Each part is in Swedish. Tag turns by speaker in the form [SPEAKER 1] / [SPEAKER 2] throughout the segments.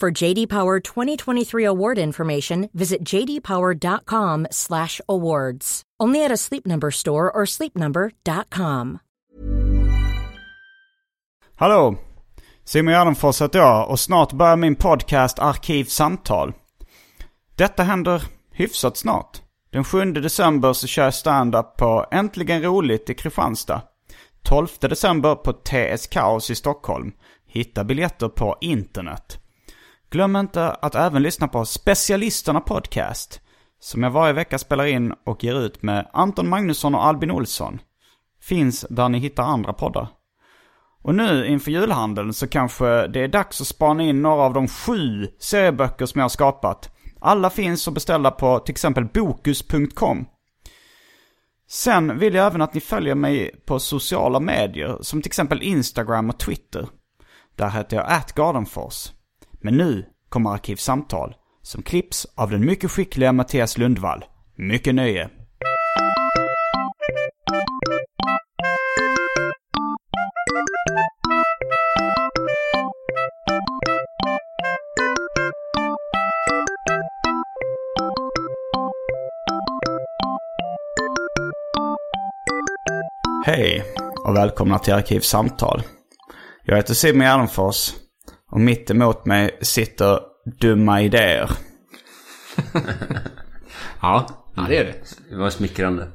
[SPEAKER 1] For JD Power 2023 award information, visit jdpower.com/awards. Only at a Sleep Number store or sleepnumber.com.
[SPEAKER 2] Hallå! Simon Gärdenfors heter jag och snart börjar min podcast Arkivsamtal. Detta händer hyfsat snart. Den 7 december så kör jag stand-up på Äntligen Roligt i Kristianstad. 12 december på TS Kaos i Stockholm. Hitta biljetter på internet. Glöm inte att även lyssna på Specialisterna Podcast. Som jag varje vecka spelar in och ger ut med Anton Magnusson och Albin Olsson. Finns där ni hittar andra poddar. Och nu inför julhandeln så kanske det är dags att spana in några av de sju serieböcker som jag har skapat. Alla finns att beställa på till exempel bokus.com. Sen vill jag även att ni följer mig på sociala medier som till exempel Instagram och Twitter. Där heter jag atgardenfors. Men nu kommer Arkivsamtal som klipps av den mycket skickliga Mattias Lundvall. Mycket nöje! Hej och välkomna till Arkivsamtal. Jag heter Simon Gärdenfors och mitt emot mig sitter Dumma Idéer.
[SPEAKER 3] Ja,
[SPEAKER 4] Ja, det är det.
[SPEAKER 3] det var smickrande.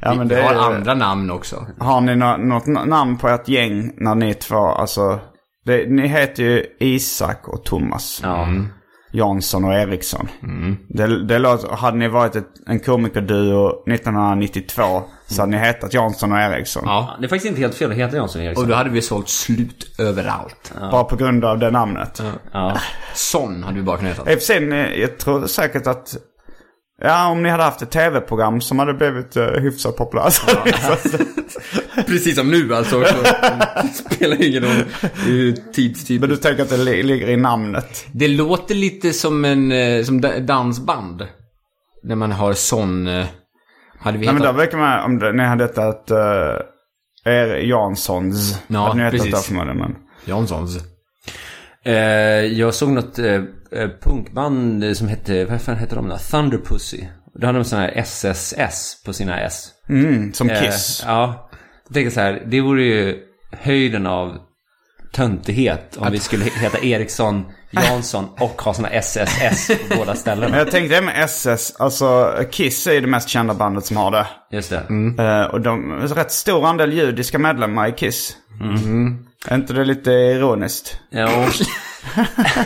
[SPEAKER 2] Ja, men
[SPEAKER 4] Vi har
[SPEAKER 2] är-
[SPEAKER 4] andra namn också.
[SPEAKER 2] Har ni nå- något na- namn på ert gäng när ni två, alltså... Det, ni heter ju Isak och Thomas.
[SPEAKER 3] Ja.
[SPEAKER 4] Mm.
[SPEAKER 2] Jansson och Eriksson. Det, det låter, hade ni varit ett, en komikerduo 1992 så hade ni hetat Jansson och Eriksson.
[SPEAKER 4] Ja.
[SPEAKER 3] Det är faktiskt inte helt fel att heta Jansson
[SPEAKER 4] Och
[SPEAKER 3] Eriksson.
[SPEAKER 4] då hade vi sålt slut överallt.
[SPEAKER 2] Bara på grund av det namnet.
[SPEAKER 3] Ja.
[SPEAKER 4] Sån hade vi bara kunnat heta.
[SPEAKER 2] I och för sig, ni- Eh, jag tror säkert att... Ja, om ni hade haft ett tv-program som hade blivit uh, hyfsat populärt.
[SPEAKER 3] Precis som nu alltså. Också. Spelar ingen roll. Det
[SPEAKER 2] Men
[SPEAKER 3] är ju
[SPEAKER 2] du
[SPEAKER 3] tidstypiskt.
[SPEAKER 2] tänker att det li- ligger i namnet?
[SPEAKER 4] Det låter lite som en eh, som da- dansband. När man har sån... eh, Hade vi
[SPEAKER 2] Nej,
[SPEAKER 4] hetat...
[SPEAKER 2] men då verkar man... Om det, ni hade hetat... Uh, er Janssons.
[SPEAKER 4] Ja,
[SPEAKER 2] hade ni hetat
[SPEAKER 4] precis.
[SPEAKER 2] där förmodligen. men-
[SPEAKER 4] Janssons.
[SPEAKER 3] Eh, jag såg något eh, eh, punkband som hette, vad fan hette de där? Thunderpussy. Då hade de sådana här SSS på sina S.
[SPEAKER 2] Mm, som Kiss.
[SPEAKER 3] Eh, ja. Jag tänker så här, det vore ju höjden av töntighet om vi skulle heta Eriksson, Jansson och ha såna SSS på båda
[SPEAKER 2] Men
[SPEAKER 3] ställena.
[SPEAKER 2] jag tänkte det med SS. Alltså, Kiss är ju det mest kända bandet som har det.
[SPEAKER 3] Just det.
[SPEAKER 4] Mm.
[SPEAKER 2] Eh, och de en rätt stor andel judiska medlemmar i Kiss. Är inte det lite ironiskt?
[SPEAKER 3] Ja, och...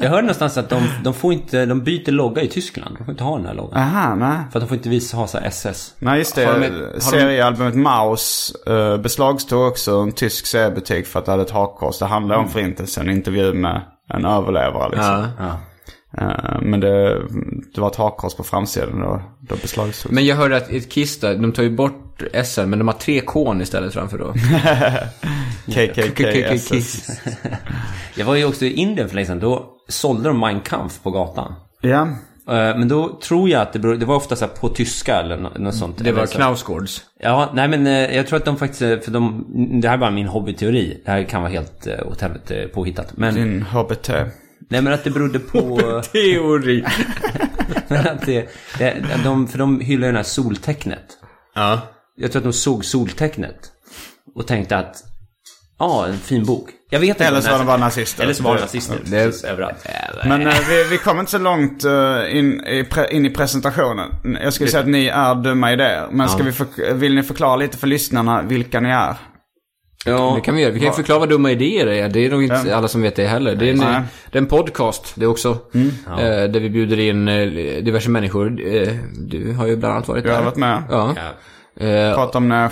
[SPEAKER 3] jag hörde någonstans att de, de får inte, de byter logga i Tyskland. De får inte ha den här loggan.
[SPEAKER 2] Aha, nej.
[SPEAKER 3] För att de får inte visa, ha så här SS.
[SPEAKER 2] Nej, just det.
[SPEAKER 4] Har de ett- har de-
[SPEAKER 2] Seriealbumet Maus eh, beslagtog också en tysk seriebutik för att det hade ett hakkors. Det handlade om förintelsen. En intervju med en överlevare liksom.
[SPEAKER 4] Ja.
[SPEAKER 2] Eh, men det, det var ett hakkors på framsidan då, då beslagtogs.
[SPEAKER 4] Men jag hörde att ett Kiss där, de tar ju bort S men de har tre K istället framför då.
[SPEAKER 2] KKKS.
[SPEAKER 4] Kiss.
[SPEAKER 3] Jag var ju också i Indien för länge sedan. Då sålde de Mein Kampf på gatan.
[SPEAKER 2] Ja.
[SPEAKER 3] Eh, Men då tror jag att det beror, det var ofta så här på tyska eller nå- något sånt.
[SPEAKER 4] Mm. Det var
[SPEAKER 3] Eller så här-
[SPEAKER 4] Knausgårds.
[SPEAKER 3] Ja, nej men eh, jag tror att de faktiskt, eh, för de, det här är bara min hobbyteori. Det här kan vara helt eh, åt helvete påhittat. Men,
[SPEAKER 2] Din HBT.
[SPEAKER 3] nej men att det berodde på...
[SPEAKER 4] Teori.
[SPEAKER 3] men att det, det, de, för de hyllar ju det här soltecknet.
[SPEAKER 4] Ja.
[SPEAKER 3] Jag tror att de såg soltecknet och tänkte att Ja, en fin bok. Jag vet inte.
[SPEAKER 2] Eller
[SPEAKER 3] om
[SPEAKER 2] så var
[SPEAKER 3] är-
[SPEAKER 2] de bara nazister.
[SPEAKER 3] Eller så var de
[SPEAKER 2] Det-
[SPEAKER 3] nazister.
[SPEAKER 4] det är-
[SPEAKER 3] Precis, överallt.
[SPEAKER 2] Men eh, vi, vi kom inte så långt eh, in, i pre, in i presentationen. Jag skulle säga att ni är dumma idéer. Men ska vi för, vill ni förklara lite för lyssnarna vilka ni är?
[SPEAKER 3] Ja,
[SPEAKER 4] Det kan vi göra. Vi kan ju förklara vad dumma idéer är. Det är nog inte alla som vet det heller. Det är en, eh,
[SPEAKER 2] Nej.
[SPEAKER 4] det är en podcast, det också. Eh, Där vi bjuder in eh, diverse människor. Eh, Du har ju bland annat varit
[SPEAKER 2] Jag har
[SPEAKER 4] där.
[SPEAKER 2] varit med.
[SPEAKER 4] Ja.
[SPEAKER 3] Ja,
[SPEAKER 4] Eh,
[SPEAKER 2] Prata om när jag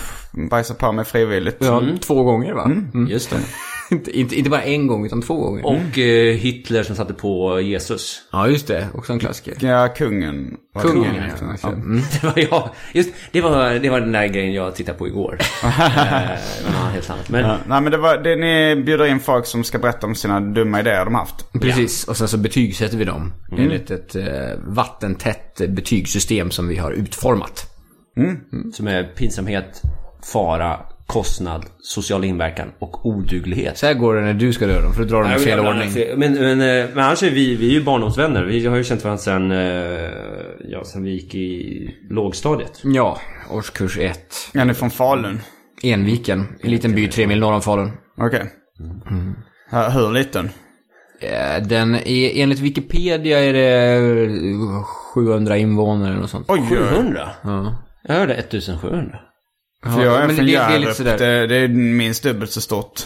[SPEAKER 2] bajsar på mig frivilligt.
[SPEAKER 4] ja, Två gånger va? Mm.
[SPEAKER 3] just det.
[SPEAKER 4] inte, inte inte bara en gång, utan två gånger.
[SPEAKER 3] Och eh, Hitler som satte på Jesus.
[SPEAKER 4] Ja, just det. Också en klassiker.
[SPEAKER 2] Ja, kungen. var det
[SPEAKER 4] Kungen,
[SPEAKER 2] heter.
[SPEAKER 4] ja.
[SPEAKER 2] Ja.
[SPEAKER 3] Det var jag. Just, det, var, det var den där grejen jag tittade på igår. eh, men ja, helt sant. Men,
[SPEAKER 2] Ja, Nej men det var, det, ni bjuder in folk som ska berätta om sina dumma idéer de haft.
[SPEAKER 4] Precis, och sen så betygsätter vi dem
[SPEAKER 3] Mm.
[SPEAKER 4] enligt ett eh, vattentätt betygssystem som vi har utformat.
[SPEAKER 3] Som är pinsamhet, fara, kostnad, social inverkan och oduglighet.
[SPEAKER 4] Så här går det när du ska röra dem, för du drar dem i fel ordning.
[SPEAKER 3] Men, men, eh, men annars är vi, vi är ju barndomsvänner. Vi har ju känt varandra sen, eh, ja, sen vi gick i lågstadiet.
[SPEAKER 4] Ja, årskurs 1.
[SPEAKER 2] Är ni från Falun?
[SPEAKER 4] Enviken, en liten by tre mil norr om Falun.
[SPEAKER 2] Okej. Ja, Hur liten?
[SPEAKER 4] Eh, Den är, enligt Wikipedia är det eh, 700 invånare eller något sånt.
[SPEAKER 2] Oj, oj.
[SPEAKER 3] 700? Jag hörde 1700.
[SPEAKER 2] För jag är
[SPEAKER 4] men
[SPEAKER 2] från
[SPEAKER 4] det- det är lite
[SPEAKER 2] Hjärup.
[SPEAKER 4] sådär.
[SPEAKER 2] Det, det är minst dubbelt så stort.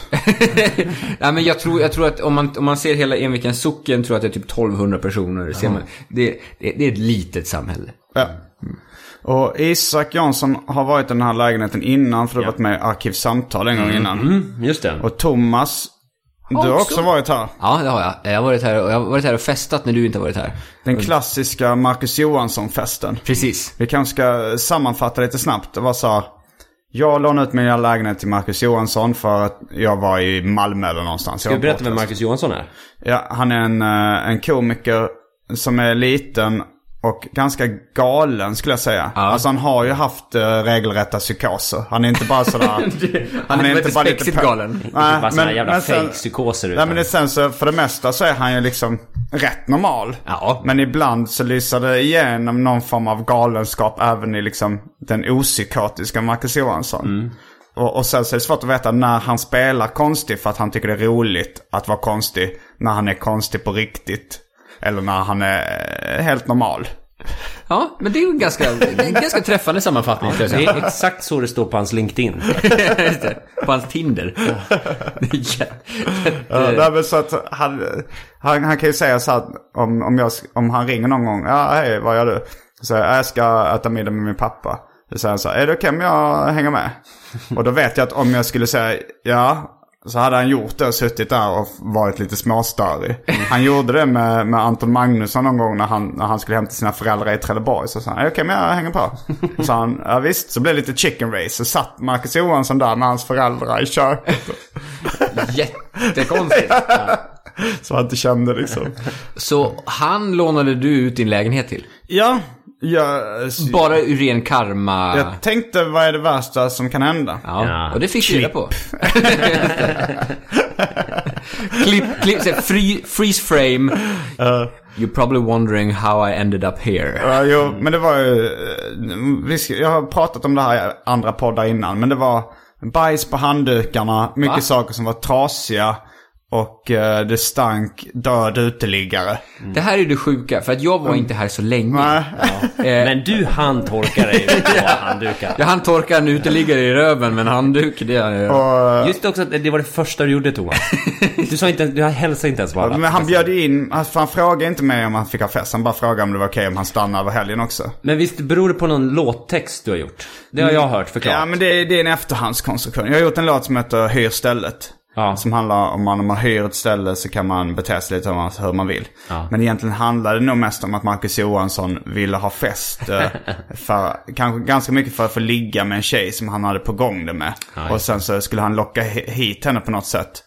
[SPEAKER 4] Nej men jag tror, jag tror att om man, om man ser hela Envikens socken tror jag att det är typ 1200 personer. Ser man, det, det, det är ett litet samhälle.
[SPEAKER 2] Ja. Och Isak Jansson har varit i den här lägenheten innan för du har varit med i Arkivsamtal en gång innan.
[SPEAKER 3] Mm, just det.
[SPEAKER 2] Och Thomas, du har också varit här.
[SPEAKER 4] Ja, det har jag. Jag har varit här och, jag har varit här och festat när du inte har varit här.
[SPEAKER 2] Den klassiska Marcus Johansson-festen.
[SPEAKER 4] Precis.
[SPEAKER 2] Vi kanske ska sammanfatta lite snabbt. Det var så här, jag lånade ut min lilla lägenhet till Marcus Johansson för att jag var i Malmö eller någonstans.
[SPEAKER 3] Ska vi berätta vem Marcus Johansson är?
[SPEAKER 2] Ja, han är en, eh, en komiker som är liten och ganska galen skulle jag säga. Alltså han har ju haft eh, regelrätta psykoser. Han är inte bara sådär...
[SPEAKER 4] Han är inte bara spexigt
[SPEAKER 2] pe-
[SPEAKER 4] galen.
[SPEAKER 3] Inte bara såna jävla
[SPEAKER 2] sen-
[SPEAKER 3] fejkpsykoser,
[SPEAKER 2] Nej
[SPEAKER 3] utan-
[SPEAKER 2] men det- sen så för det mesta så är han ju liksom rätt normal.
[SPEAKER 4] Ja.
[SPEAKER 2] Men ibland så lyser det igenom någon form av galenskap även i liksom den opsykotiska Marcus Johansson. Och, och sen så är det svårt att veta när han spelar konstig för att han tycker det är roligt att vara konstig. När han är konstig på riktigt. Eller när han är eh, helt normal.
[SPEAKER 4] Ja, men det är ju en ganska, det är en ganska träffande sammanfattning skulle jag
[SPEAKER 3] Det
[SPEAKER 4] säga.
[SPEAKER 3] är exakt så det står på hans LinkedIn.
[SPEAKER 4] Just det. På hans Tinder. Det är jä-
[SPEAKER 2] Ja, nej, men så att han, han, han kan ju säga så här om, om, jag, om han ringer någon gång. Ja, hej, vad gör du? Så jag, jag ska äta middag med min pappa. Så säger han så här, är det okej om jag hänger med? Och då vet jag att om jag skulle säga ja, så hade han gjort det och suttit där och varit lite småstörig. Han gjorde det med, med Anton Magnusson någon gång när han, när han skulle hämta sina föräldrar i Trelleborg. Så sa han, är det okej om jag hänger på? Så sa han, ja visst. Så blev det lite chicken race. Så satt Marcus Johansson där med hans föräldrar i köket.
[SPEAKER 4] Jättekonstigt.
[SPEAKER 2] Så han inte kände liksom.
[SPEAKER 4] Så han lånade du ut din lägenhet till?
[SPEAKER 2] Ja, jag, s-
[SPEAKER 4] Bara ur ren karma?
[SPEAKER 2] jag tänkte vad är det värsta som kan hända?
[SPEAKER 4] Ja.
[SPEAKER 3] Ja.
[SPEAKER 4] och det fick du reda på. klipp, klipp, så här, free, freeze frame. You're probably wondering how I ended up here.
[SPEAKER 2] Ja, jo, men det var ju... eh, vi ska- Jag har pratat om det här i andra poddar innan, men det var bajs på handdukarna, mycket saker som var trasiga och eh, det stank död uteliggare.
[SPEAKER 4] Det här är det sjuka, för att jag var inte här så länge.
[SPEAKER 3] Men du han torkar dig på handdukar.
[SPEAKER 4] Jag hann torka en uteliggare i röven med en handduk. Det är,
[SPEAKER 3] Just också att det var det första du gjorde Thomas. Du sa inte, ens- du hälsade inte ens på alla.
[SPEAKER 2] eh, Men han bjöd ju in, alltså, han frågade inte mig om han fick ha fest, han bara frågade om det var okej om han stannade över helgen också.
[SPEAKER 3] Men visst beror det på någon låttext du har gjort? Det har jag hört förklarat.
[SPEAKER 2] Ja, men det, är- det är en efterhandskonstruktion. Jag har gjort en låt som heter Hyr stället.
[SPEAKER 3] Ja.
[SPEAKER 2] Som handlar om att när man hyr ett ställe så kan man bete sig lite hur man, hur man vill. Men egentligen handlar det nog mest om att Marcus Johansson ville ha fest. eh, för, kanske ganska mycket för att få ligga med en tjej som han hade på gång det med. och sen så skulle han locka hi- hit henne på något sätt.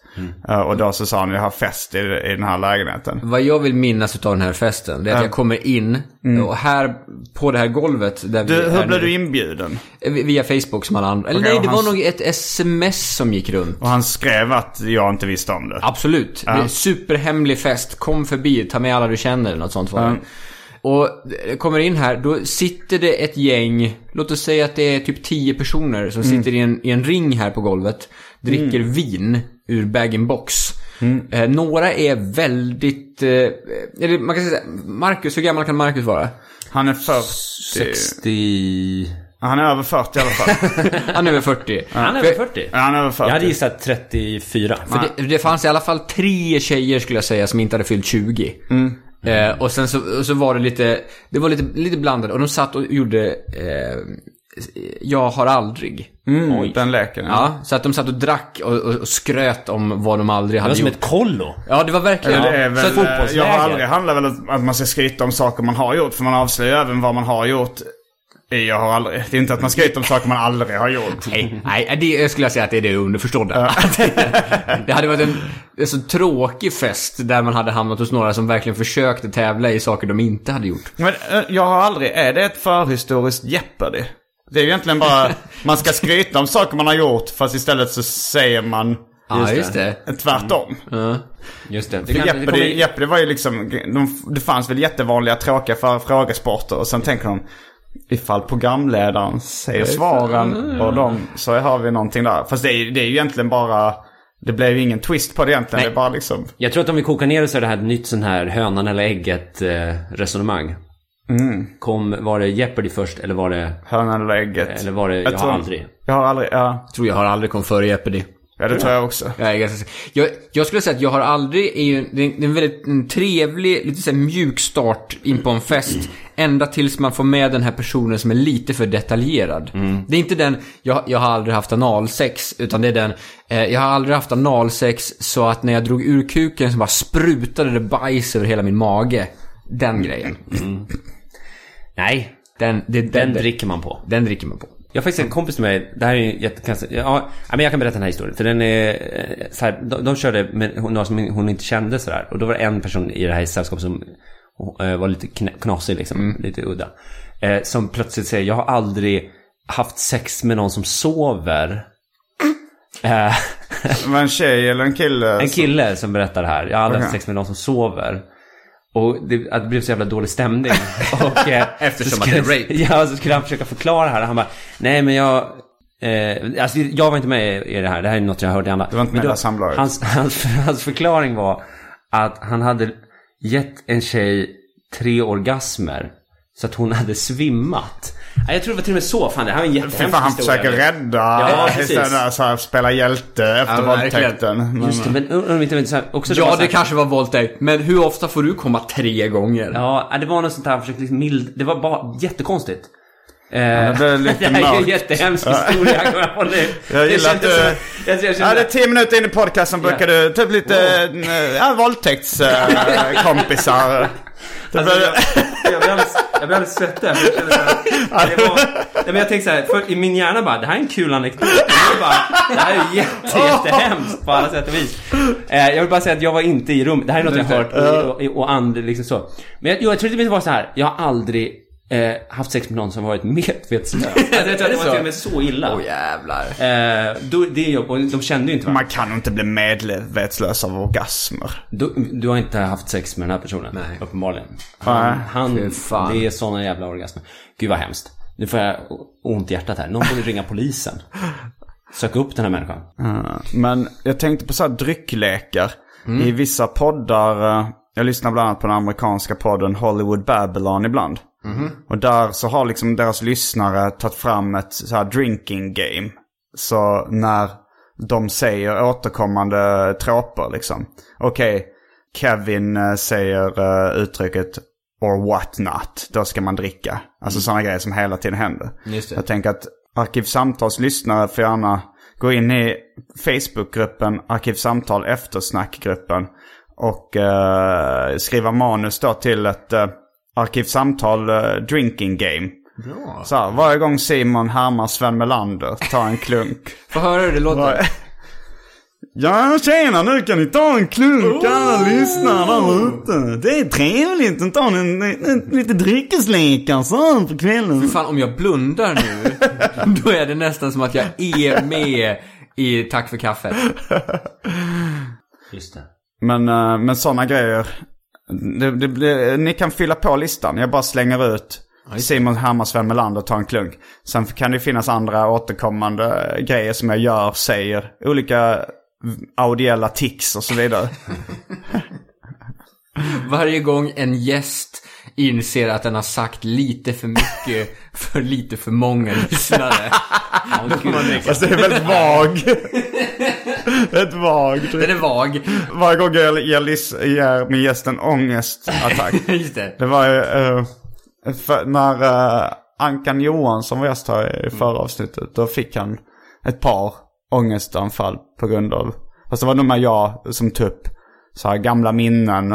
[SPEAKER 2] Eh, och då så sa han jag har fest i, i den här lägenheten.
[SPEAKER 4] Vad jag vill minnas utav den här festen, det är att jag kommer in och här på det här golvet där
[SPEAKER 2] Mm. Du,
[SPEAKER 4] vi
[SPEAKER 2] hur
[SPEAKER 4] är
[SPEAKER 2] blev
[SPEAKER 4] nu,
[SPEAKER 2] du inbjuden?
[SPEAKER 4] Via Facebook som alla andra. Eller
[SPEAKER 2] Okej,
[SPEAKER 4] nej,
[SPEAKER 2] och
[SPEAKER 4] det var
[SPEAKER 2] hans-
[SPEAKER 4] nog ett sms som gick runt.
[SPEAKER 2] Och han skrev att jag inte visste om det.
[SPEAKER 4] Absolut. Det är Superhemlig fest. Kom förbi, ta med alla du känner. Något sånt var det. Och eh, kommer in här, då sitter det ett gäng, låt oss säga att det är typ 10 personer som
[SPEAKER 5] Mm.
[SPEAKER 4] sitter i en, i en ring här på golvet, dricker vin ur bag-in-box.
[SPEAKER 5] Mm.
[SPEAKER 4] Eh, några är väldigt, eh, eller man kan säga, så här, Marcus, hur gammal kan Marcus vara?
[SPEAKER 2] Han är för...
[SPEAKER 3] 60...
[SPEAKER 2] Han är över 40 i alla fall.
[SPEAKER 4] Han är över 40.
[SPEAKER 5] Han är
[SPEAKER 4] För-
[SPEAKER 5] över 40.
[SPEAKER 2] Ja, Han är över 40.
[SPEAKER 5] Jag hade gissat 34.
[SPEAKER 4] För det, det fanns i alla fall tre tjejer skulle jag säga som inte hade fyllt 20. Eh, och sen så, och så var det lite, det var lite, lite blandat och de satt och gjorde eh, Jag har aldrig.
[SPEAKER 2] Mm, den leken. Ja.
[SPEAKER 4] Ja, så att de satt och drack och, och, och skröt om vad de aldrig
[SPEAKER 5] Det
[SPEAKER 4] hade
[SPEAKER 5] var som
[SPEAKER 4] gjort.
[SPEAKER 5] ett kollo.
[SPEAKER 4] Ja, det var verkligen.
[SPEAKER 2] Det är
[SPEAKER 4] Ja, så
[SPEAKER 2] väl,
[SPEAKER 4] att
[SPEAKER 2] eh,
[SPEAKER 4] fotbolls-
[SPEAKER 2] jag har
[SPEAKER 5] fotbollsläger.
[SPEAKER 2] aldrig handlar väl att att man ska skryta om saker man har gjort. För man avslöjar även vad man har gjort. i Jag har aldrig. Det är inte att man skryter om saker man aldrig har gjort.
[SPEAKER 4] Nej, nej, det skulle jag säga att det är det underförstådda. det hade varit en, en så tråkig fest där man hade hamnat hos några som verkligen försökte tävla i saker de inte hade gjort.
[SPEAKER 2] Men eh, jag har aldrig. Är det ett förhistoriskt Jeopardy? Det är ju egentligen bara. Man ska skryta om saker man har gjort. Fast istället så säger man
[SPEAKER 4] Ja, just det.
[SPEAKER 2] tvärtom.
[SPEAKER 3] Just det.
[SPEAKER 2] För
[SPEAKER 3] det, kan, det kommer,
[SPEAKER 2] Jeopardy, Jeopardy var ju liksom, de, det fanns väl jättevanliga tråkiga för, frågesporter och sen tänker de ifall programledaren säger svaren och de, så har vi någonting där. Fast det är, ju- det är ju egentligen bara, det blev ju ingen twist på det egentligen. Det är bara liksom,
[SPEAKER 3] jag tror att om vi kokar ner det så är det här ett nytt sån här hönan eller ägget eh, resonemang.
[SPEAKER 2] Mm.
[SPEAKER 3] Kom, var det Jeopardy först eller var det...
[SPEAKER 2] hönan eller ägget.
[SPEAKER 3] Eller var det Jag,
[SPEAKER 2] tror-
[SPEAKER 3] har aldrig?
[SPEAKER 2] Jag har aldrig, ja.
[SPEAKER 4] Jag tror jag har aldrig kom före Jeopardy.
[SPEAKER 2] Ja det tror jag också.
[SPEAKER 4] Jag, är ganska, jag, jag skulle säga att jag har aldrig, är ju, det är en- det är en väldigt en trevlig, lite så här mjuk start in på en fest. Ända tills man får med den här personen som är lite för detaljerad.
[SPEAKER 3] Mm.
[SPEAKER 4] Det är inte den, jag, jag har aldrig haft analsex, utan det är den, eh, jag har aldrig haft analsex så att när jag drog ur kuken så bara sprutade det bajs över hela min mage.
[SPEAKER 3] Mm.
[SPEAKER 4] Den grejen.
[SPEAKER 3] Nej,
[SPEAKER 4] Den, det är
[SPEAKER 3] den
[SPEAKER 4] den, den,
[SPEAKER 3] dricker man på.
[SPEAKER 4] den dricker man på.
[SPEAKER 3] Jag har faktiskt en kompis till mig, det här är ju jättekonstigt. Ja, ja, men jag kan berätta den här historien. För den är eh, så här, de, de körde med några som hon inte kände sådär. Och då var det en person i det här sällskapet som eh, var lite knä, knasig liksom, lite udda. Eh, som plötsligt säger, jag har aldrig haft sex med någon som sover. Eh,
[SPEAKER 2] Det var en tjej eller en kille.
[SPEAKER 3] en kille som berättar det här, jag har aldrig haft
[SPEAKER 2] Alltså- Okej.
[SPEAKER 3] sex med någon som sover. Och det, att det blev så jävla dålig stämning. Och, eh,
[SPEAKER 4] Eftersom
[SPEAKER 3] så
[SPEAKER 4] att det är
[SPEAKER 3] skulle-
[SPEAKER 4] rape.
[SPEAKER 3] Ja, så skulle han försöka förklara det här. Han bara, nej men jag... Eh, alltså, jag var inte med i det här. Det här är något jag hörde i andra.
[SPEAKER 2] var inte
[SPEAKER 3] Men
[SPEAKER 2] med i Lassambladet.
[SPEAKER 3] hans, hans, hans förklaring var att han hade gett en tjej tre orgasmer. Så att hon hade svimmat. Ja, Jag tror det var till och med så. Fan, det här var en jättehemsk
[SPEAKER 2] Fy fan, han försöker rädda, ja,
[SPEAKER 3] precis.
[SPEAKER 2] där, så här, spela hjälte efter
[SPEAKER 4] Ja, verkligen.
[SPEAKER 2] våldtäkten. Men-
[SPEAKER 3] Just det, men undrar om inte... men så här- Också var
[SPEAKER 4] Ja,
[SPEAKER 3] så
[SPEAKER 4] det
[SPEAKER 3] här-
[SPEAKER 4] kanske var våldtäkt, men hur ofta får du komma tre gånger?
[SPEAKER 3] Ja, ja, det var något sånt här, försökte liksom mild... Det var bara jättekonstigt. Eh, det,
[SPEAKER 2] blev lite
[SPEAKER 3] här är ju en
[SPEAKER 2] mörkt.
[SPEAKER 3] jättehemsk historia. kommer jag på nu.
[SPEAKER 2] Jag gillar att
[SPEAKER 3] kändes
[SPEAKER 2] du-
[SPEAKER 3] som- Jag, jag
[SPEAKER 2] Ja, det är
[SPEAKER 3] kände...
[SPEAKER 2] tio minuter in i podcasten brukar du ta upp lite wow. ja, våldtäktskompisar. Typ,
[SPEAKER 5] Alltså, jag, jag, blev alldeles, jag blev alldeles svettig. här, för jag kände så här- det var- Nej, men Jag tänkte så här, för, i min hjärna bara, det här är en kul anekdot. Men jag bara, Det här är jätte, jättehemskt på alla sätt och vis.
[SPEAKER 3] Eh, jag vill bara säga att jag var inte i rummet. Det här är något jag hört och, och, och andra liksom så. Men jag, jo, jag tror det var så här. Jag har aldrig eh, haft sex med någon som varit medvetslös. Alltså, jag tror att det var till och med så illa.
[SPEAKER 4] Åh jävlar.
[SPEAKER 3] Eh, då, det är ju, och de kände ju inte varandra.
[SPEAKER 2] Man kan ju inte bli medvetslös av orgasmer.
[SPEAKER 3] Du, du har inte haft sex med den här personen?
[SPEAKER 4] Nej.
[SPEAKER 3] Uppenbarligen. Han, han,
[SPEAKER 4] fan.
[SPEAKER 3] det är såna jävla orgasmer. Gud vad hemskt. Nu får jag o- ont i hjärtat här. Någon borde ringa polisen. Sök upp den här människan.
[SPEAKER 2] Men jag tänkte på så här drycklekar. I
[SPEAKER 5] Mm.
[SPEAKER 2] vissa poddar, eh, jag lyssnar bland annat på den amerikanska podden Hollywood Babylon ibland.
[SPEAKER 5] Mhm.
[SPEAKER 2] Och där så har liksom deras lyssnare tagit fram ett så här drinking game. Så när de säger återkommande tråpar liksom. Okej, Kevin eh, säger eh, uttrycket or what not. Då ska man dricka. Alltså sådana grejer som hela tiden händer.
[SPEAKER 4] Mm. Just det.
[SPEAKER 2] Jag tänker att Arkivsamtalslyssnare får gärna gå in i Facebookgruppen Arkivsamtal eftersnackgruppen och eh, skriva manus då till ett eh, Arkivsamtal eh, drinking game. Så här, varje gång Simon härmar Sven Melander, ta en klunk.
[SPEAKER 4] Få höra hur det låter.
[SPEAKER 2] Ja, tjena, nu kan ni ta en klunk alla lyssnare där ute. Det är trevligt att ta en, en, en lite dryckeslekar så här på kvällen.
[SPEAKER 4] Fan, om jag blundar nu, då är det nästan som att jag är med i Tack för kaffet.
[SPEAKER 3] Just det.
[SPEAKER 2] Men, eh, men sådana grejer Det, det, det, ni kan fylla på listan. Jag bara slänger ut Simon Hammar, Sven Melander och tar en klunk. Sen kan det finnas andra återkommande grejer som jag gör, säger. Olika audiella tics och så vidare.
[SPEAKER 4] Varje gång en gäst inser att den har sagt lite för mycket för lite för många lyssnare.
[SPEAKER 2] Fast det är väldigt vag. Ett typ. vagt.
[SPEAKER 4] Den är vag.
[SPEAKER 2] Varje gång jag ger, lis- ger min gäst en ångestattack.
[SPEAKER 4] Just det.
[SPEAKER 2] Det var ju eh, för, när eh, Ankan Johansson var gäst här i förra avsnittet. Då fick han ett par ångestanfall på grund av... Fast det var nog med jag som typ så här gamla minnen.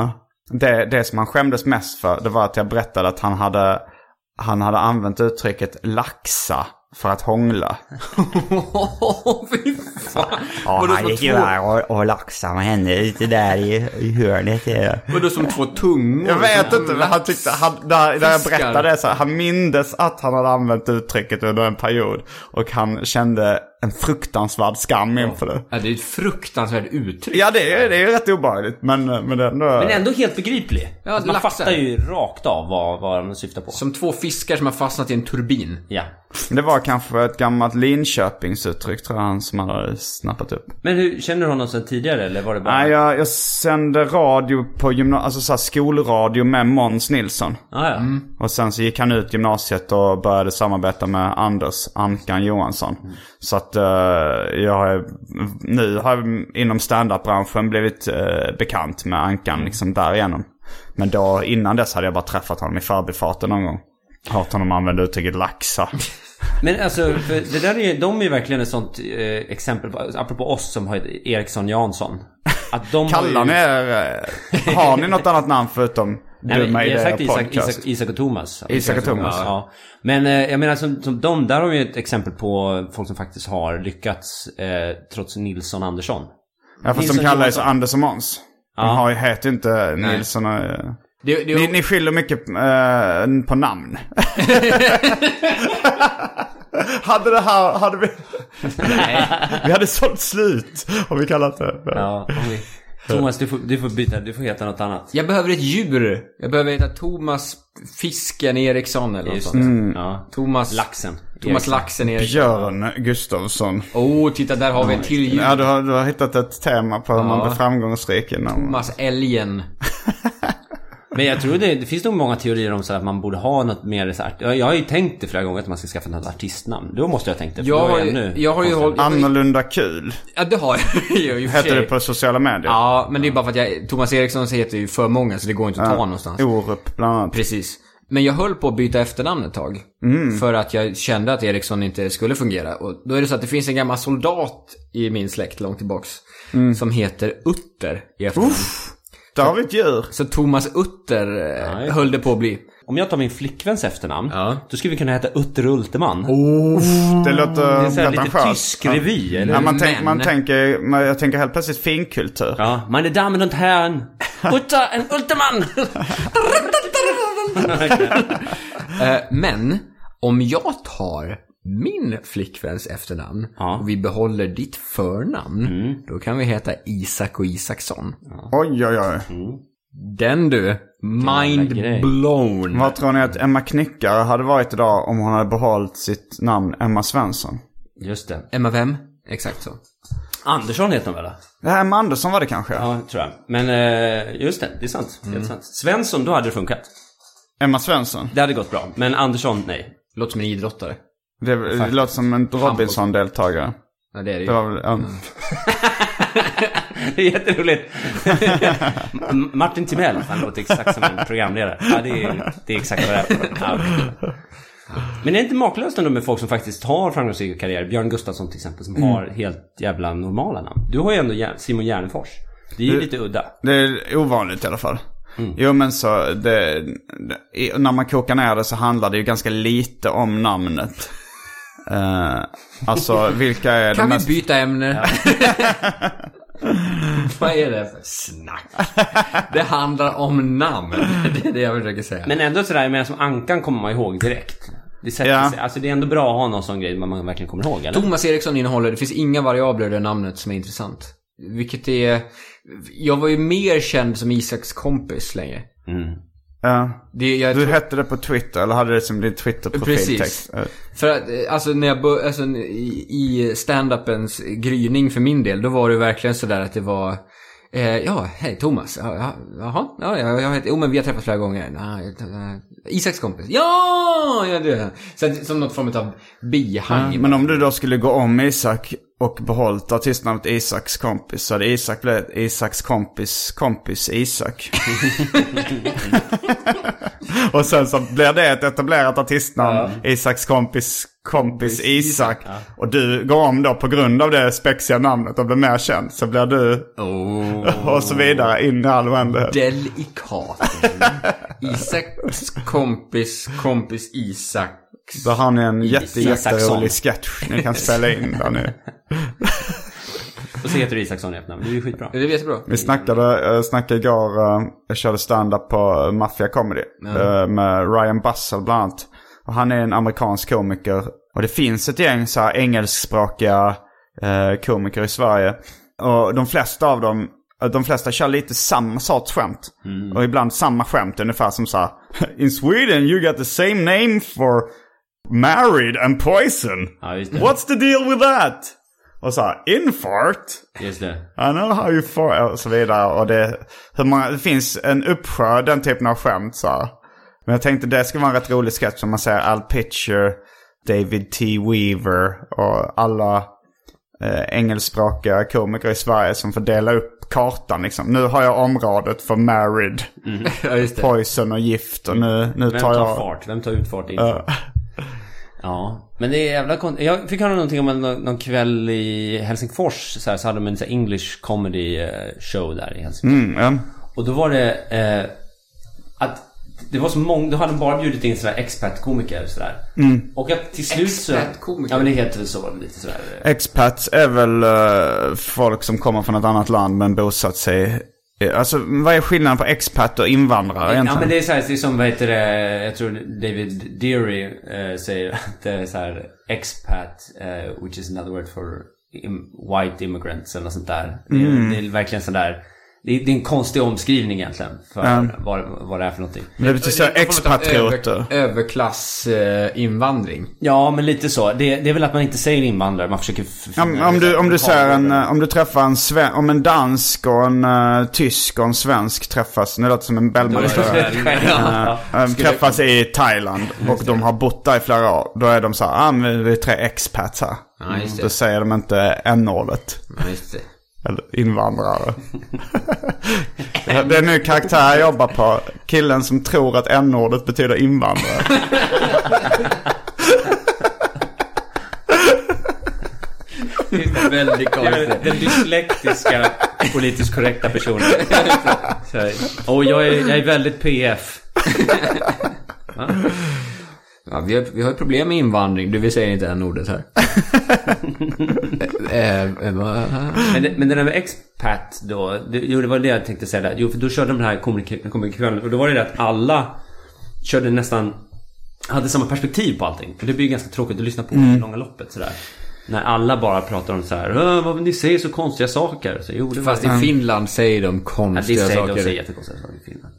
[SPEAKER 2] Det, det som han skämdes mest för det var att jag berättade att han hade, han hade använt uttrycket laxa för att hångla.
[SPEAKER 4] Åh, fy fan.
[SPEAKER 6] Ja,
[SPEAKER 4] Vadå
[SPEAKER 6] han
[SPEAKER 4] som
[SPEAKER 6] gick ju
[SPEAKER 4] två-
[SPEAKER 6] där och, och laxade med henne ute där i, i hörnet. där.
[SPEAKER 4] Vadå som två tungor?
[SPEAKER 2] Jag vet inte, men han tyckte, han, när, när jag
[SPEAKER 4] Mm. Fiskar.
[SPEAKER 2] berättade det så här, han mindes att han hade använt uttrycket under en period. Och han kände en fruktansvärd skam inför det.
[SPEAKER 4] Ja, det är ett fruktansvärt uttryck.
[SPEAKER 2] Ja, det är, det är ju rätt obehagligt, men, men det är ändå...
[SPEAKER 3] Men ändå helt begriplig. Alltså,
[SPEAKER 4] Ja,
[SPEAKER 3] Man
[SPEAKER 4] laxar.
[SPEAKER 3] fattar ju rakt av vad, vad de syftar på.
[SPEAKER 4] Som två fiskar som har fastnat i en turbin.
[SPEAKER 3] Ja.
[SPEAKER 2] Det var kanske ett gammalt Linköpingsuttryck, tror jag, han som hade snappat upp.
[SPEAKER 3] Men hur, känner du honom sedan tidigare eller var det bara...
[SPEAKER 2] Nej, jag, jag sände radio på gymnasiet, alltså så här skolradio med Måns Nilsson.
[SPEAKER 3] Ah, ja.
[SPEAKER 4] Mm.
[SPEAKER 2] Och sen så gick han ut gymnasiet och började samarbeta med Anders Ankan Johansson.
[SPEAKER 3] Mm.
[SPEAKER 2] Så att eh, jag har, nu har jag inom standup-branschen blivit eh, bekant med Ankan
[SPEAKER 3] Mm.
[SPEAKER 2] liksom därigenom. Men då, innan dess hade jag bara träffat honom i förbifarten någon gång. Hört honom använda uttrycket laxa.
[SPEAKER 3] Men alltså, för det där är, de är ju verkligen ett sånt eh, exempel, på, apropå oss som har ett Eriksson Jansson. Att de har ju-
[SPEAKER 2] Kallar ni er, eh, har ni något annat namn förutom
[SPEAKER 3] Nej,
[SPEAKER 2] Dumma
[SPEAKER 3] men jag
[SPEAKER 2] Idéer
[SPEAKER 3] har sagt Isak,
[SPEAKER 2] Podcast?
[SPEAKER 3] Isak, Isak och Thomas.
[SPEAKER 2] Isak och Thomas.
[SPEAKER 3] Ja. ja. Men eh, jag menar, som, som de där har ju ett exempel på folk som faktiskt har lyckats eh, trots Nilsson Andersson.
[SPEAKER 2] ja, fast de
[SPEAKER 3] Nilsson
[SPEAKER 2] kallar sig
[SPEAKER 3] Johansson.
[SPEAKER 2] Anders och Måns. De
[SPEAKER 3] Ja.
[SPEAKER 2] har ju, heter ju inte Nilsson och... eh,
[SPEAKER 4] Det, det,
[SPEAKER 2] Ni, ni skiljer mycket eh, på namn. hade det här, hade vi... vi hade sålt slut, har vi kallat det.
[SPEAKER 3] Ja, om vi- Thomas, du får, du får byta, du får heta något annat.
[SPEAKER 4] Jag behöver ett djur. Jag behöver heta Thomas Fisken Eriksson eller något
[SPEAKER 3] Just
[SPEAKER 4] sånt.
[SPEAKER 3] det.
[SPEAKER 2] Mm.
[SPEAKER 3] Ja.
[SPEAKER 4] Thomas...
[SPEAKER 3] Laxen.
[SPEAKER 4] Thomas Laxen Eriksson.
[SPEAKER 2] Björn Gustafsson.
[SPEAKER 4] Åh, oh, titta där har vi ett till djur.
[SPEAKER 2] Ja, du har, du har hittat ett tema på hur man blir framgångsrik inom...
[SPEAKER 4] Thomas Älgen.
[SPEAKER 3] Men jag tror det, det finns nog många teorier om så här att man borde ha något mer så här, jag, jag har ju tänkt det flera gånger att man ska skaffa något artistnamn. Då måste jag ha tänkt det. för
[SPEAKER 4] Jag
[SPEAKER 3] då är
[SPEAKER 4] har ju,
[SPEAKER 3] ännu
[SPEAKER 4] jag har ju
[SPEAKER 3] konstigare.
[SPEAKER 4] hållit...
[SPEAKER 2] Annorlunda kul,
[SPEAKER 4] Ja, det har jag ju i och för
[SPEAKER 2] heter
[SPEAKER 4] sig.
[SPEAKER 2] det på sociala medier.
[SPEAKER 4] Ja, men det är bara för att jag... Thomas Eriksson heter ju för många så det går inte att ta någonstans.
[SPEAKER 2] Orup, bland annat.
[SPEAKER 4] Precis. Men jag höll på att byta efternamn ett tag.
[SPEAKER 2] Mm.
[SPEAKER 4] För att jag kände att Eriksson inte skulle fungera. Och då är det så att det finns en gammal soldat i min släkt långt tillbaks.
[SPEAKER 2] Mm.
[SPEAKER 4] Som heter Utter i efternamn.
[SPEAKER 2] Där har vi ett djur.
[SPEAKER 4] Så Thomas Utter eh,
[SPEAKER 3] Nej.
[SPEAKER 4] höll det på att bli.
[SPEAKER 3] Om jag tar min flickväns efternamn,
[SPEAKER 4] Ja.
[SPEAKER 3] då skulle vi kunna heta Utter Ulterman.
[SPEAKER 2] Det låter
[SPEAKER 3] så här lite
[SPEAKER 2] pretentiöst.
[SPEAKER 3] tysk revy, eller?
[SPEAKER 2] Ja, man, tänk,
[SPEAKER 4] Men-
[SPEAKER 2] man tänker, man, jag tänker helt plötsligt finkultur.
[SPEAKER 3] Ja, meine Damen und Herren, Utter en Ulterman!
[SPEAKER 4] Eh, Men, om jag tar min flickväns efternamn
[SPEAKER 3] Ja. Mm.
[SPEAKER 4] och vi behåller ditt förnamn. Då kan vi heta Isak och Isaksson.
[SPEAKER 2] Oj, oj, oj.
[SPEAKER 4] Den du, mind
[SPEAKER 3] grej.
[SPEAKER 4] blown.
[SPEAKER 2] Vad tror ni att Emma Knyckare hade varit idag om hon hade behållit sitt namn Emma Svensson?
[SPEAKER 3] Just det.
[SPEAKER 4] Emma vem? Exakt så.
[SPEAKER 3] Andersson heter hon väl?
[SPEAKER 2] Det här Emma Andersson var det kanske?
[SPEAKER 3] Ja, tror jag. Men eh, just det, det är sant. Helt sant. Svensson, då hade det funkat.
[SPEAKER 2] Emma Svensson?
[SPEAKER 3] Det hade gått bra. Men Andersson, nej.
[SPEAKER 4] Låter som en idrottare.
[SPEAKER 2] Det, det låter som en Robinson-deltagare.
[SPEAKER 4] Ja, det är det ju.
[SPEAKER 2] Det var väl, ja.
[SPEAKER 4] Mm.
[SPEAKER 3] Det är jätteroligt. M- Martin Timell, han låter exakt som en programledare. Ja, det är, det är exakt vad det är. Ja. Men det är inte makalöst ändå med folk som faktiskt har framgångsrika karriärer. Björn Gustafsson till exempel, som har helt jävla normala namn. Du har ju ändå Jär- Simon Järnfors. Det är ju lite udda.
[SPEAKER 2] Det är ovanligt i alla fall.
[SPEAKER 4] Mm.
[SPEAKER 2] Jo men så, det, det, i- när man kokar ner det så handlar det ju ganska lite om namnet. Eh, alltså vilka är de
[SPEAKER 4] Kan vi
[SPEAKER 2] mest...
[SPEAKER 4] byta ämne? Vad är det för snack? Det handlar om namn. Det är det jag försöker säga.
[SPEAKER 3] Men ändå sådär, jag menar som Ankan kommer man ihåg direkt. Det sätter
[SPEAKER 2] Ja.
[SPEAKER 3] sig. Alltså det är ändå bra att ha någon sån grej man man verkligen kommer ihåg, eller?
[SPEAKER 4] Thomas Eriksson innehåller, det finns inga variabler i det namnet som är intressant. Vilket är... Jag var ju mer känd som Isaks kompis länge.
[SPEAKER 2] Ja.
[SPEAKER 4] Det, jag
[SPEAKER 2] Du
[SPEAKER 4] tror-
[SPEAKER 2] hette det på Twitter, eller hade det som din Twitter-profiltext?
[SPEAKER 4] Precis. För att, eh, alltså när jag bör, alltså, i, i stand-upens gryning för min del, då var det verkligen sådär att det var eh, Ja, hej Thomas. Ja, ja, Jaha, ja, ja, jag heter, jo men vi har träffats flera gånger. Ja, eh, Isaks kompis. Ja! ja det. Så att, som något form av bihang.
[SPEAKER 2] Men om du då skulle gå om Isak och behållit artistnamnet Isaks kompis så hade Isak blivit Isaks kompis kompis Isak. och sen så blir det ett etablerat artistnamn. Isaks kompis kompis Isak. Och du går om då på grund av det spexiga namnet och blir mer känd. Så blir du och så vidare in i all oändlighet.
[SPEAKER 4] Delikat. Isaks kompis kompis Isaks.
[SPEAKER 2] Då har ni en jätte,
[SPEAKER 3] Isaksson.
[SPEAKER 2] jätterolig sketch ni kan spela in där nu.
[SPEAKER 3] Och så heter du Isaksson i efternamn. Det är ju skitbra.
[SPEAKER 4] Det är jättebra.
[SPEAKER 2] Vi snackade, eh, snackade igår, eh, jag körde stand-up på Mafia Comedy eh, med Ryan Bussell bland annat. Och han är en amerikansk komiker. Och det finns ett gäng så här engelskspråkiga eh, komiker i Sverige. Och de flesta av dem, eh, de flesta kör lite samma sorts skämt.
[SPEAKER 3] Mm.
[SPEAKER 2] Och ibland samma skämt, ungefär som så här. In Sweden you got the same name for married and poison.
[SPEAKER 3] Ja, just det.
[SPEAKER 2] What's the deal with that? Och så här, infart.
[SPEAKER 3] Just det.
[SPEAKER 2] I know how you far och så vidare. Och det, hur många, det finns en uppsjö den typen av skämt så här. Men jag tänkte det skulle vara en rätt rolig sketch om man säger Al Pitcher, David T. Weaver och alla eh, engelskspråkiga komiker i Sverige som får dela upp kartan liksom. Nu har jag området för married,
[SPEAKER 4] Ja, just det.
[SPEAKER 2] poison och gift och nu, nu
[SPEAKER 3] Vem
[SPEAKER 2] tar
[SPEAKER 3] tar
[SPEAKER 2] jag...
[SPEAKER 3] fart? Vem tar ut fart? In fart? Ja, men det är jävla konstigt. Jag fick höra någonting om en, någon kväll i Helsingfors så, här, så hade de en så här, English comedy eh, show där i Helsingfors.
[SPEAKER 2] Mm, ja.
[SPEAKER 3] Och då var det eh, att det var så många, då hade de bara bjudit in sådär expertkomiker sådär.
[SPEAKER 2] Mm.
[SPEAKER 3] Och att till slut så...
[SPEAKER 4] Expertkomiker?
[SPEAKER 3] Ja men det heter väl så lite sådär. eh,
[SPEAKER 2] Expats är väl eh, folk som kommer från ett annat land men bosatt sig... eh, Alltså vad är skillnaden på expat och invandrare egentligen?
[SPEAKER 3] Ja men det är såhär, det är som vad heter det, jag tror David Deary eh, säger att det är såhär expat, eh, which is another word for im- white immigrants eller något sånt där. Det, är,
[SPEAKER 2] Mm.
[SPEAKER 3] det är verkligen sådär, det är, det är en konstig omskrivning egentligen för vad, vad det är för någonting.
[SPEAKER 2] Men det betyder så här, expatrioter.
[SPEAKER 4] Över, överklassinvandring.
[SPEAKER 3] Ja men lite så, det, det är väl att man inte säger invandrare, man försöker... f-
[SPEAKER 2] Om,
[SPEAKER 3] finna
[SPEAKER 2] om, du,
[SPEAKER 3] liksom
[SPEAKER 2] om, du ser en,
[SPEAKER 3] lokalord.
[SPEAKER 2] eh, om du träffar en, sven, om en dansk och en eh, tysk och en svensk träffas, nu låter det som en Bellman
[SPEAKER 3] Ja.
[SPEAKER 2] Träffas i Thailand och de har bott där i flera år. Då är de så här, ah, men vi är tre expats här.
[SPEAKER 4] Ja, just det.
[SPEAKER 2] Då säger de inte n-ordet.
[SPEAKER 4] Ja, just det.
[SPEAKER 2] Eller invandrare. det är nu karaktär jag jobbar på. Killen som tror att n-ordet betyder invandrare.
[SPEAKER 4] Väldigt konstigt.
[SPEAKER 3] Den dyslektiska politiskt korrekta personen. Så här, Och jag är, jag är väldigt PF.
[SPEAKER 4] Ja, vi, har, vi har ett problem med invandring. Du, vi säger inte än ordet här. eh, eh, va?
[SPEAKER 3] Men, det- men den där med expat då. Det, jo, det var det jag tänkte säga där. Jo, för då körde de den här komik- komikvällen. Och då var det det att alla körde nästan... Hade samma perspektiv på allting. För det blir ju ganska tråkigt att lyssna på i det långa loppet sådär. När alla bara pratar om så här, "Äh, vad ni säger så konstiga saker. Så, jo, det var
[SPEAKER 4] Fast i Finland säger de
[SPEAKER 3] Mm. ja, det
[SPEAKER 4] konstiga
[SPEAKER 3] säger de
[SPEAKER 4] saker.
[SPEAKER 3] säger jättekonstiga saker i Finland.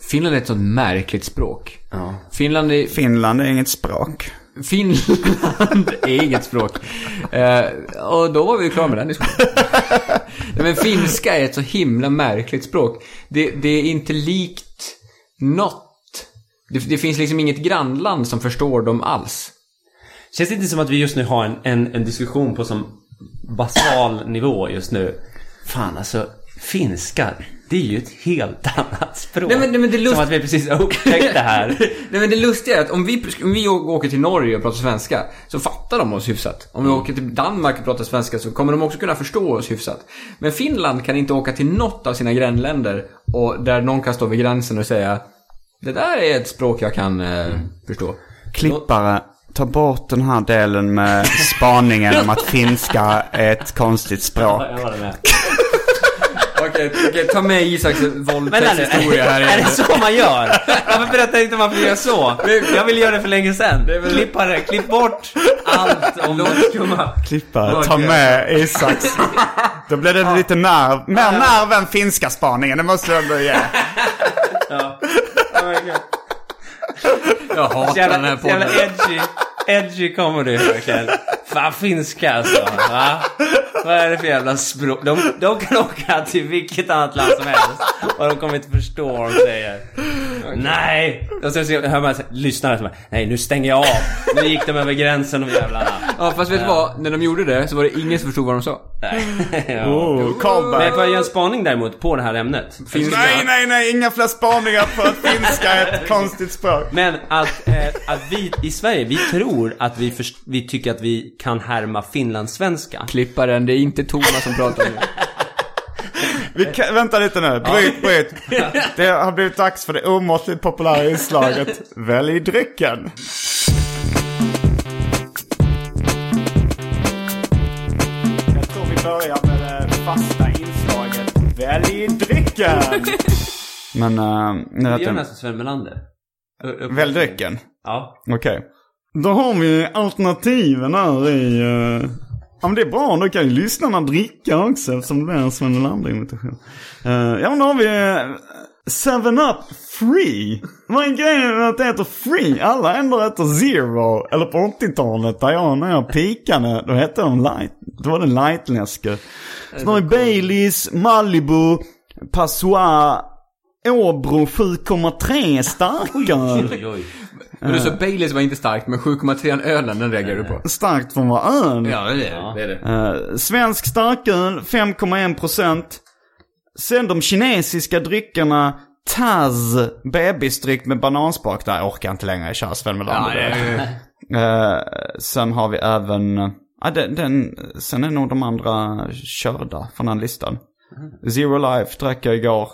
[SPEAKER 4] Finland är ett sånt märkligt språk.
[SPEAKER 3] Ja.
[SPEAKER 4] Finland är...
[SPEAKER 2] Finland är inget språk.
[SPEAKER 4] Finland är inget språk. Eh, och då var vi ju klara med den diskussionen. Nej, men finska är ett så himla märkligt språk. Det, det är inte likt något. Det, det finns liksom inget grannland som förstår dem alls.
[SPEAKER 3] Känns det inte som att vi just nu har en, en, en diskussion på som basal nivå just nu? Fan alltså, finska, det är ju ett helt annat språk.
[SPEAKER 4] Nej, men- nej, men det är lust-
[SPEAKER 3] Som att vi precis har upptäckt det här.
[SPEAKER 4] Nej men det lustiga är att om vi, om vi å- åker till Norge och pratar svenska så fattar de oss hyfsat. Om vi
[SPEAKER 3] Mm.
[SPEAKER 4] åker till Danmark och pratar svenska så kommer de också kunna förstå oss hyfsat. Men Finland kan inte åka till något av sina grannländer och där någon kan stå vid gränsen och säga Det där är ett språk jag kan eh,
[SPEAKER 3] Mm.
[SPEAKER 4] förstå.
[SPEAKER 2] Klippare, ta bort den här delen med spaningen om att finska är ett konstigt språk.
[SPEAKER 3] Jag håller med.
[SPEAKER 4] Okej, okej, ta med Isaks
[SPEAKER 3] Vänta nu,
[SPEAKER 4] våldtäktshistoria här
[SPEAKER 3] är
[SPEAKER 4] igen.
[SPEAKER 3] det så man gör? Varför berättar inte varför du gör så? Jag ville göra det för länge sedan. Klipp, här, klipp bort allt om den skumma...
[SPEAKER 2] Klippa,
[SPEAKER 3] Okej.
[SPEAKER 2] ta med Isaks. Då blev det lite nerv. Mer nerv än finska spaningen, det måste jag ändå ge.
[SPEAKER 3] Oh my God.
[SPEAKER 4] Jag hatar
[SPEAKER 3] jävla,
[SPEAKER 4] den här
[SPEAKER 3] så jävla
[SPEAKER 4] podden.
[SPEAKER 3] edgy, edgy comedy verkligen. Fan finska alltså. Va? Vad är det för jävla språk? De, de kan åka till vilket annat land som helst och de kommer inte förstå vad de säger. Nej! Och så hör man så här, lyssnarna som bara, nej nu stänger jag av. Nu gick de över gränsen de jävlarna.
[SPEAKER 4] Ja, fast vet du vad? När de gjorde det så var det ingen som förstod vad de sa.
[SPEAKER 3] Nej. Ja.
[SPEAKER 2] Oh,
[SPEAKER 3] Men
[SPEAKER 2] callback.
[SPEAKER 3] jag får göra en spaning däremot på det här ämnet.
[SPEAKER 4] Finska.
[SPEAKER 2] Nej, nej, nej, inga fler spaningar på att finska är ett konstigt språk.
[SPEAKER 3] Men att, eh, att vi i Sverige, vi tror att vi, först, vi tycker att vi kan härma finlandssvenska.
[SPEAKER 4] Klippa den, det är inte Thomas som pratar nu.
[SPEAKER 2] Vi kan, vänta lite nu, bryt, bryt. Det har blivit dags för det omåttligt populära inslaget Välj drycken. Jag tror vi börjar med det fasta inslaget Välj drycken. Men eh, nu
[SPEAKER 3] Vi gör
[SPEAKER 2] heter
[SPEAKER 3] den här
[SPEAKER 2] det
[SPEAKER 3] som Sven Melander. Ö- upp-
[SPEAKER 2] Välj drycken.
[SPEAKER 3] Ja.
[SPEAKER 2] Okej. Då har vi alternativen här i... eh, Ja men det är bra, då kan ju lyssnarna dricka också eftersom det är en Sven Melander-imitation. Eh, ja men då har vi eh, Seven up Free. Vad är grejen med att det heter Free? Alla ändå heter Zero. Eller på 80-talet där jag, när jag pikade, då hette de Light. Då var det lightläsker. Sen har vi Baileys, Malibu, Passoir, Åbro 7,3 starkare.
[SPEAKER 3] Oj, oj.
[SPEAKER 4] Men du
[SPEAKER 2] Eh.
[SPEAKER 4] sa Baileys var inte starkt, men 7,3 ölen, den reagerar du på.
[SPEAKER 2] Starkt från vad öl.
[SPEAKER 4] Ja, det är det. Är det.
[SPEAKER 2] Eh, svensk starköl 5,1%. Sen de kinesiska dryckerna Taz, bebisdryck med bananspak. Där jag orkar inte längre, jag kör Sven Melander. Eh, sen har vi även, ja den, den, sen är nog de andra körda från den listan.
[SPEAKER 4] Mhm.
[SPEAKER 2] Zero Life drack jag igår.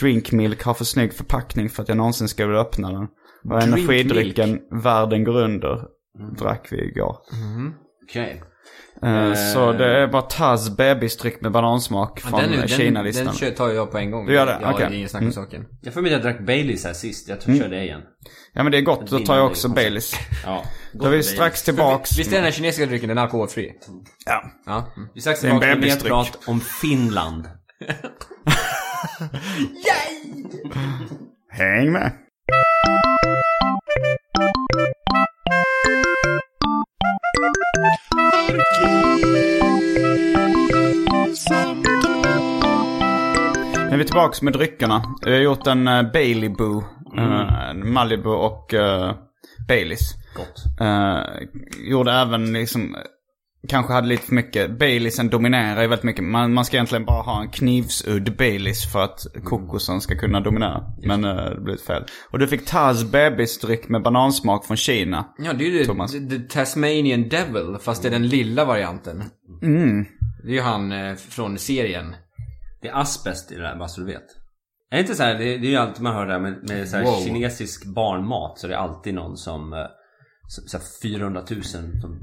[SPEAKER 2] Drink Milk har för snygg förpackning för att jag någonsin ska vilja öppna den. Och
[SPEAKER 4] Drink Mm.
[SPEAKER 2] energidrycken Världen går under drack vi igår.
[SPEAKER 3] Okej.
[SPEAKER 2] Eh, Så det är bara Taz bebisdryck med banansmak
[SPEAKER 4] Ja,
[SPEAKER 2] från
[SPEAKER 4] den, är- den,
[SPEAKER 2] Kina-listan.
[SPEAKER 4] den kör- tar jag på en gång.
[SPEAKER 2] Du gör det?
[SPEAKER 4] Ja,
[SPEAKER 2] Okej. Mm.
[SPEAKER 4] det är ingen snack om saken.
[SPEAKER 3] Jag får mig att jag drack Baileys här sist. Jag tror jag kör det igen.
[SPEAKER 2] Ja men det är gott, då tar jag också Baileys.
[SPEAKER 3] Ja.
[SPEAKER 2] Då är vi strax tillbaks.
[SPEAKER 4] Visst är den här kinesiska drycken den är alkoholfri?
[SPEAKER 2] Ja.
[SPEAKER 4] Ja.
[SPEAKER 3] Vi är strax
[SPEAKER 2] är en
[SPEAKER 3] tillbaka med mer
[SPEAKER 2] bebisdryck.
[SPEAKER 3] prat om Finland.
[SPEAKER 2] Häng med. Nu är vi tillbaks med dryckerna. Vi har gjort en eh, Bailey Boo. eh, en Malibu och eh, Baileys.
[SPEAKER 3] Gott.
[SPEAKER 2] Eh, gjorde även liksom, eh, kanske hade lite för mycket, Baileysen dominerar ju väldigt mycket. Man, man ska egentligen bara ha en knivsudd Baileys för att kokosen ska kunna dominera. Men eh, det blev fel. Och du fick Taz bebisdryck med banansmak från Kina.
[SPEAKER 4] Ja, det är ju
[SPEAKER 2] Thomas.
[SPEAKER 4] the, the Tasmanian Devil, fast det är den lilla varianten.
[SPEAKER 2] Mm.
[SPEAKER 4] Det är ju han eh, från serien.
[SPEAKER 3] Det är asbest i det där, bara så du vet. Är det inte så här, det, det är ju alltid man hör det här med, med så här
[SPEAKER 4] Wow.
[SPEAKER 3] kinesisk barnmat. Så det är alltid någon som, eh, så, så här 400 000 som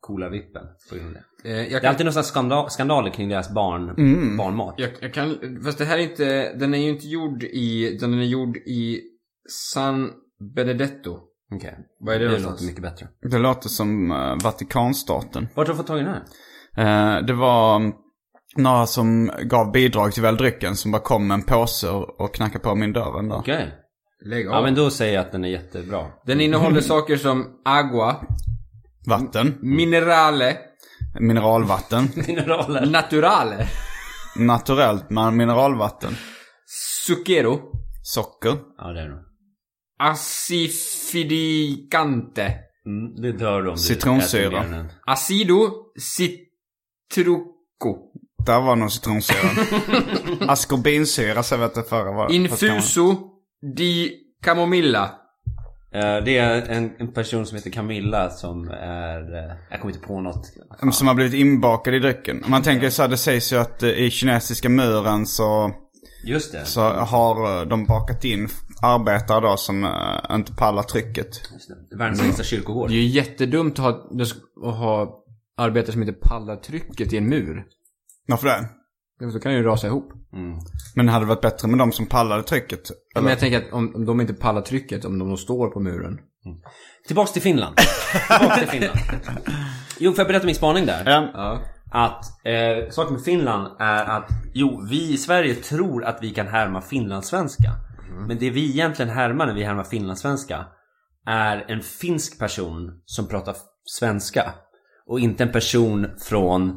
[SPEAKER 3] coola vippen på grund av det.
[SPEAKER 4] Eh, jag,
[SPEAKER 3] Det är
[SPEAKER 4] kan,
[SPEAKER 3] alltid några skandal, skandaler kring deras barn,
[SPEAKER 4] Mm.
[SPEAKER 3] barnmat.
[SPEAKER 4] jag, jag kan, fast det här är inte, den är ju inte gjord i, utan den är gjord i San Benedetto.
[SPEAKER 3] Okej.
[SPEAKER 4] Vad är det
[SPEAKER 3] Det
[SPEAKER 4] någonstans?
[SPEAKER 3] låter mycket bättre.
[SPEAKER 2] Det låter som eh, Vatikanstaten.
[SPEAKER 3] Vart har du fått tag i den här?
[SPEAKER 2] Eh, det var mm, några som gav bidrag till väl drycken som bara kom med en påse och och knackade på min dörr en dag.
[SPEAKER 3] Okej.
[SPEAKER 4] Lägg av.
[SPEAKER 3] Ja men då säger jag att den är jättebra.
[SPEAKER 4] Den innehåller saker som agua,
[SPEAKER 2] Vatten,
[SPEAKER 4] minerale,
[SPEAKER 2] mineralvatten,
[SPEAKER 3] Mineraler.
[SPEAKER 4] naturale,
[SPEAKER 2] naturellt men mineralvatten,
[SPEAKER 4] zucchero,
[SPEAKER 2] socker.
[SPEAKER 3] Ja det är det nog.
[SPEAKER 4] acidificante,
[SPEAKER 3] Mm, det dör du om du
[SPEAKER 2] Citronsyra.
[SPEAKER 3] äter mer än en.
[SPEAKER 4] acido, citruco,
[SPEAKER 2] Där var nog citronsyran. Askorbinsyra så jag vet inte förra var.
[SPEAKER 4] infuso di camomilla.
[SPEAKER 3] Eh, Det är en, en person som heter Camilla som är... eh, Jag kommer inte på något.
[SPEAKER 2] Som har blivit inbakad i drycken. Man tänker så här, det sägs ju att eh, i kinesiska muren så,
[SPEAKER 3] Just det.
[SPEAKER 2] så har eh, de bakat in arbetare då som eh, inte pallar trycket.
[SPEAKER 3] Just det. Världens längsta kyrkogård.
[SPEAKER 4] Det är ju jättedumt att ha, att ha arbetare som inte pallar trycket i en mur.
[SPEAKER 2] Varför det?
[SPEAKER 4] Då kan det ju rasa ihop.
[SPEAKER 2] Men det hade varit bättre med de som pallade trycket.
[SPEAKER 4] Men jag tänker att om, om de inte pallar trycket, om de då står på muren.
[SPEAKER 3] Tillbaks till Finland. Tillbaks till Finland. Jo, får jag berätta min spaning där?
[SPEAKER 5] Ja.
[SPEAKER 3] Att eh, saken med Finland är att jo, vi i Sverige tror att vi kan härma finlandssvenska.
[SPEAKER 4] Mm.
[SPEAKER 3] Men det vi egentligen härmar när vi härmar finlandssvenska är en finsk person som pratar f- svenska. Och inte en person från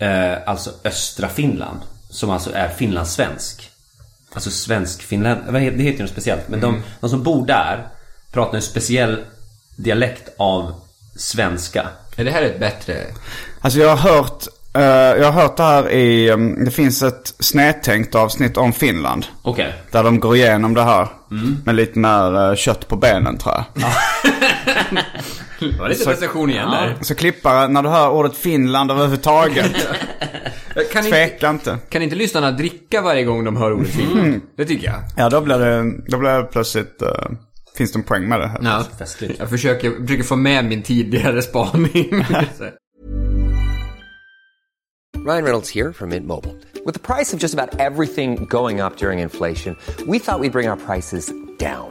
[SPEAKER 3] eh, alltså östra Finland. Som alltså är finlandssvensk. Alltså svensk-finländ... vad heter- Det heter ju något speciellt. Men
[SPEAKER 4] Mm.
[SPEAKER 3] de, de som bor där pratar en speciell dialekt av svenska.
[SPEAKER 4] Ja, det här är ett bättre...
[SPEAKER 2] Alltså jag har hört, eh, jag har hört det här i, ehm, det finns ett snedtänkt avsnitt om Finland.
[SPEAKER 3] Okej.
[SPEAKER 2] Där de går igenom det här. Med lite mer eh, kött på benen tror jag.
[SPEAKER 4] Var det inte recension igen där?
[SPEAKER 2] Så klippare, när du hör ordet Finland överhuvudtaget,
[SPEAKER 4] Kan inte,
[SPEAKER 2] tveka inte.
[SPEAKER 4] kan inte lyssnarna dricka varje gång de hör ordet Finland? Det tycker jag.
[SPEAKER 2] Ja, då blir det, då blir det plötsligt, eh, finns det en poäng med det här.
[SPEAKER 4] Ja.
[SPEAKER 3] Festligt.
[SPEAKER 4] Jag försöker, försöker få med min tidigare spaning.
[SPEAKER 7] Ryan Reynolds here from Mint Mobile. With the price of just about everything going up during inflation, we thought we'd bring our prices down.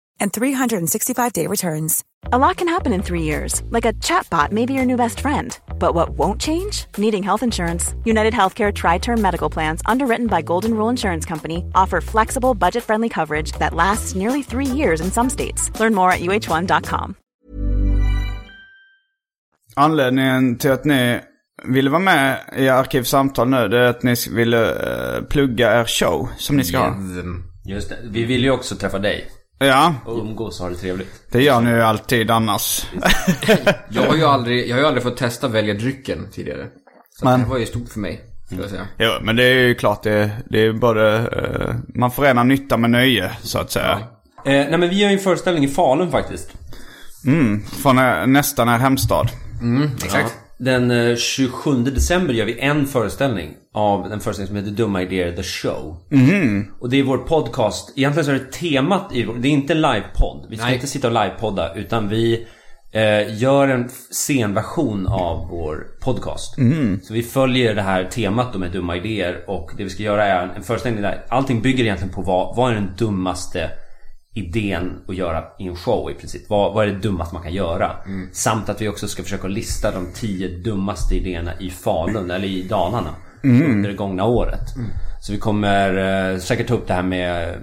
[SPEAKER 8] and 365-day returns.
[SPEAKER 9] A lot can happen in three years, like a chatbot may be your new best friend. But what won't change? Needing health insurance. United Healthcare Tri Term Medical Plans, underwritten by Golden Rule Insurance Company, offer flexible, budget friendly coverage that lasts nearly three years in some states. Learn more at uh1.com.
[SPEAKER 2] Anledningen till att ni ville vara med i Arkivsamtal nu, det är att ni ville eh, plugga er show som ni ska ha.
[SPEAKER 3] Just det. Vi vill ju också träffa dig.
[SPEAKER 2] Ja,
[SPEAKER 3] Och umgås och ha det trevligt.
[SPEAKER 2] det gör ni ju alltid annars.
[SPEAKER 4] Jag har ju aldrig, jag har ju aldrig fått testa välja drycken tidigare. Så det här var ju stort för mig, skulle jag säga.
[SPEAKER 2] Jo, men det är ju klart det, det är både, eh, man förenar nytta med nöje så att säga.
[SPEAKER 3] Eh, nej men vi gör ju en föreställning i Falun faktiskt.
[SPEAKER 2] Från eh, nästan er hemstad.
[SPEAKER 4] Exakt.
[SPEAKER 3] Den eh, 27 december gör vi en föreställning av en föreställning som heter Dumma Idéer The Show. Och det är vår podcast. Egentligen så är det temat i vår, det är inte en livepodd. Vi ska
[SPEAKER 4] Nej.
[SPEAKER 3] inte sitta och livepodda utan vi eh, gör en f- scenversion av vår podcast. Så vi följer det här temat då med dumma idéer och det vi ska göra är en, en föreställning där allting bygger egentligen på vad, vad är den dummaste idén att göra i en show i princip. Vad, vad är det dummaste man kan göra? Samt att vi också ska försöka lista de tio dummaste idéerna i Falun eller i Dalarna under det gångna året. Så vi kommer eh, säkert ta upp det här med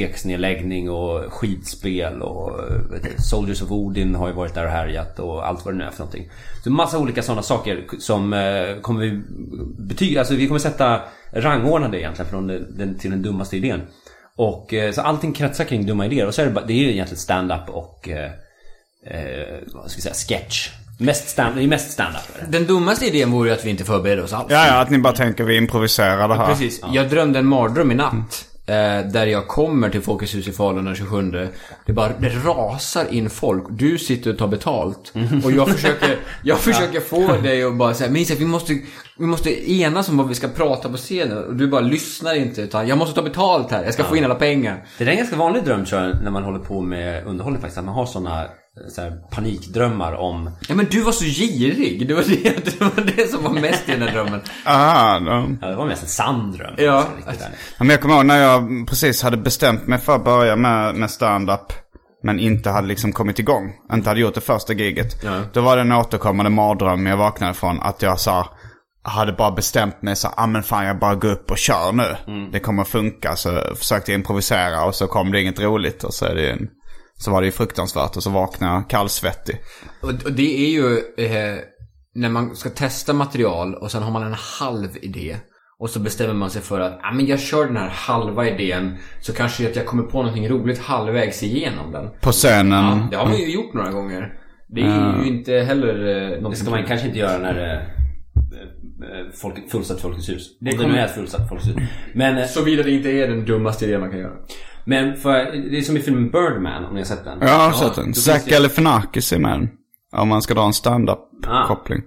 [SPEAKER 3] biblioteksnedläggning och skidspel och eh, vet du, Soldiers of Odin har ju varit där och härjat och allt vad det nu är för någonting. Så massa olika sådana saker som eh, kommer vi betyga, alltså vi kommer sätta rangordna det egentligen från den, den till den dummaste idén. Och eh, så allting kretsar kring dumma idéer och så är det, bara- det är ju egentligen stand-up och eh, eh, vad ska jag säga, sketch. Mest stand, det är mest stand-up. är det.
[SPEAKER 4] Den dummaste idén vore ju att vi inte förberedde oss alls.
[SPEAKER 2] Ja, ja, att ni bara tänker vi improviserar det här.
[SPEAKER 4] Precis. Jag drömde en mardröm i natt. Eh, där jag kommer till Folkets hus i Falun den 27. Det bara det rasar in folk. Du sitter och tar betalt. Och jag försöker, jag försöker få dig att bara säga, men Isak, vi måste, vi måste enas om vad vi ska prata på scenen. Och du bara lyssnar inte. Utan, jag måste ta betalt här. Jag ska få in alla pengar.
[SPEAKER 3] Det där är en ganska vanlig dröm tror jag när man håller på med underhållning faktiskt. Att man har sådana så här, panikdrömmar om...
[SPEAKER 4] Ja, men du var så girig. Det var det, det, var det som var mest i den här drömmen.
[SPEAKER 2] Aha, då.
[SPEAKER 3] Ja, det var mest en sann dröm.
[SPEAKER 4] Ja.
[SPEAKER 3] alltså, riktigt där.
[SPEAKER 2] Ja, Men jag kommer ihåg när jag precis hade bestämt mig för att börja med, med stand-up. Men inte hade liksom kommit igång. Inte hade gjort det första giget. Då var det en återkommande mardröm jag vaknade från. Att jag sa, hade bara bestämt mig så ah men fan jag bara går upp och kör nu.
[SPEAKER 3] Mm.
[SPEAKER 2] Det kommer funka. Så jag försökte improvisera och så kom det inget roligt. Och så, är det ju en, så var det ju fruktansvärt. Och så vaknade jag kallsvettig.
[SPEAKER 4] Och, och det är ju eh, när man ska testa material och sen har man en halv idé. Och så bestämmer man sig för att ah, men jag kör den här halva idén så kanske att jag kommer på någonting roligt halvvägs igenom den.
[SPEAKER 2] På scenen.
[SPEAKER 4] Ja, det har man ju gjort några gånger. Det är ju inte heller eh, någonting...
[SPEAKER 3] Det ska man kanske inte göra när det är folk, fullsatt Folkets hus.
[SPEAKER 4] Det
[SPEAKER 3] Det, det
[SPEAKER 4] kommer-
[SPEAKER 3] nu är ett fullsatt Folkets hus. Men, eh,
[SPEAKER 4] Såvida det inte är den dummaste idén man kan göra.
[SPEAKER 3] men för, det är som i filmen Birdman, om ni har sett den.
[SPEAKER 2] Ja, jag har sett den.
[SPEAKER 3] då
[SPEAKER 2] Zac
[SPEAKER 3] finns det-
[SPEAKER 2] Galifianakis är med den. Om man ska dra en
[SPEAKER 3] Ah.
[SPEAKER 2] stand-up-koppling.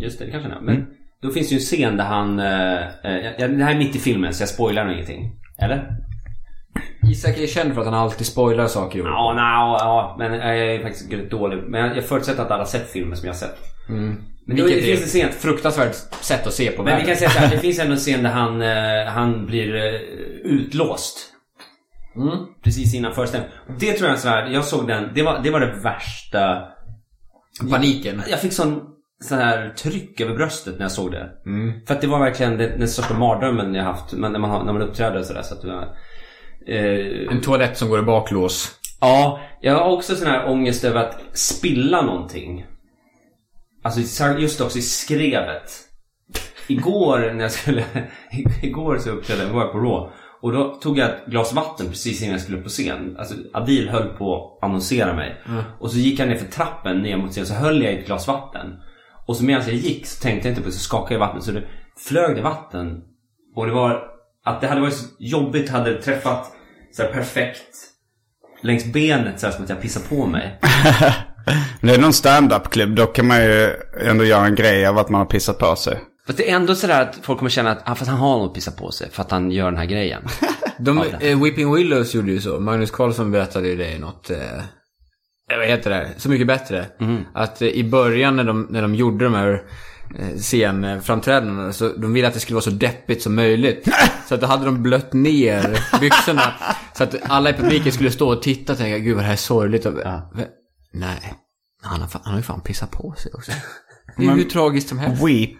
[SPEAKER 3] Just det, det kanske den är. Men
[SPEAKER 4] Mm.
[SPEAKER 3] då finns det ju en scen där han... eh, eh, ja, det här är mitt i filmen, så jag spoilar nog ingenting. Eller?
[SPEAKER 4] Isak är känd för att han alltid spoilar saker. i
[SPEAKER 3] Ja, nej, ja, men jag är faktiskt väldigt dålig. Men jag- jag förutsätter att alla har sett filmen som jag har sett. Men då, det
[SPEAKER 4] Mm. Vilket
[SPEAKER 3] finns en
[SPEAKER 4] är
[SPEAKER 3] scen...
[SPEAKER 4] ett fruktansvärt sätt att se på
[SPEAKER 3] Men vi
[SPEAKER 4] världen.
[SPEAKER 3] kan säga så här, det finns ändå en scen där han, eh, han blir eh, utlåst.
[SPEAKER 4] Mm.
[SPEAKER 3] Precis innan föreställningen. Det tror jag är en sån här, jag såg den, det var det, var det värsta...
[SPEAKER 4] Paniken.
[SPEAKER 3] Jag fick sån, sån här tryck över bröstet när jag såg det. För att det var verkligen den, den största mardrömmen jag haft men när man, har- när man uppträder och sådär. Så att, det var- eh,
[SPEAKER 4] En toalett som går i baklås.
[SPEAKER 3] Ja, jag har också sån här ångest över att spilla någonting. Alltså i- just också i skrevet. Igår när jag skulle, igår så uppträdde jag, var jag på Raw. Och då tog jag ett glas vatten precis innan jag skulle upp på scen. Alltså Adil höll på att annonsera mig. Och så gick jag ner för trappen ner mot scenen så höll jag i ett glas vatten. Och så medan jag gick så tänkte jag inte på det så skakade jag i vattnet så det flög det vatten. Och det var att det hade varit så jobbigt hade det träffat så här perfekt längs benet så här, som att jag pissar på mig.
[SPEAKER 2] Det är någon stand-up-klubb. Då kan man ju ändå göra en grej av att man har pissat på sig.
[SPEAKER 3] Fast det är ändå sådär att folk kommer känna att ah, fast han har nog pissat på sig för att han gör den här grejen.
[SPEAKER 4] De, eh, Weeping Willows gjorde ju så. Magnus Carlsson berättade ju det i något... Eh, eh, vad heter det? Så mycket bättre. Att eh, i början när de, när de gjorde de här eh, scenframträdandena så de ville att det skulle vara så deppigt som möjligt. Så att då hade de blött ner byxorna. så att alla i publiken skulle stå och titta och tänka, gud vad det här är sorgligt. Och, "Vä- Nej, han har, fan- han har ju fan pissat på sig också. Det är ju hur tragiskt som helst.
[SPEAKER 2] Weep.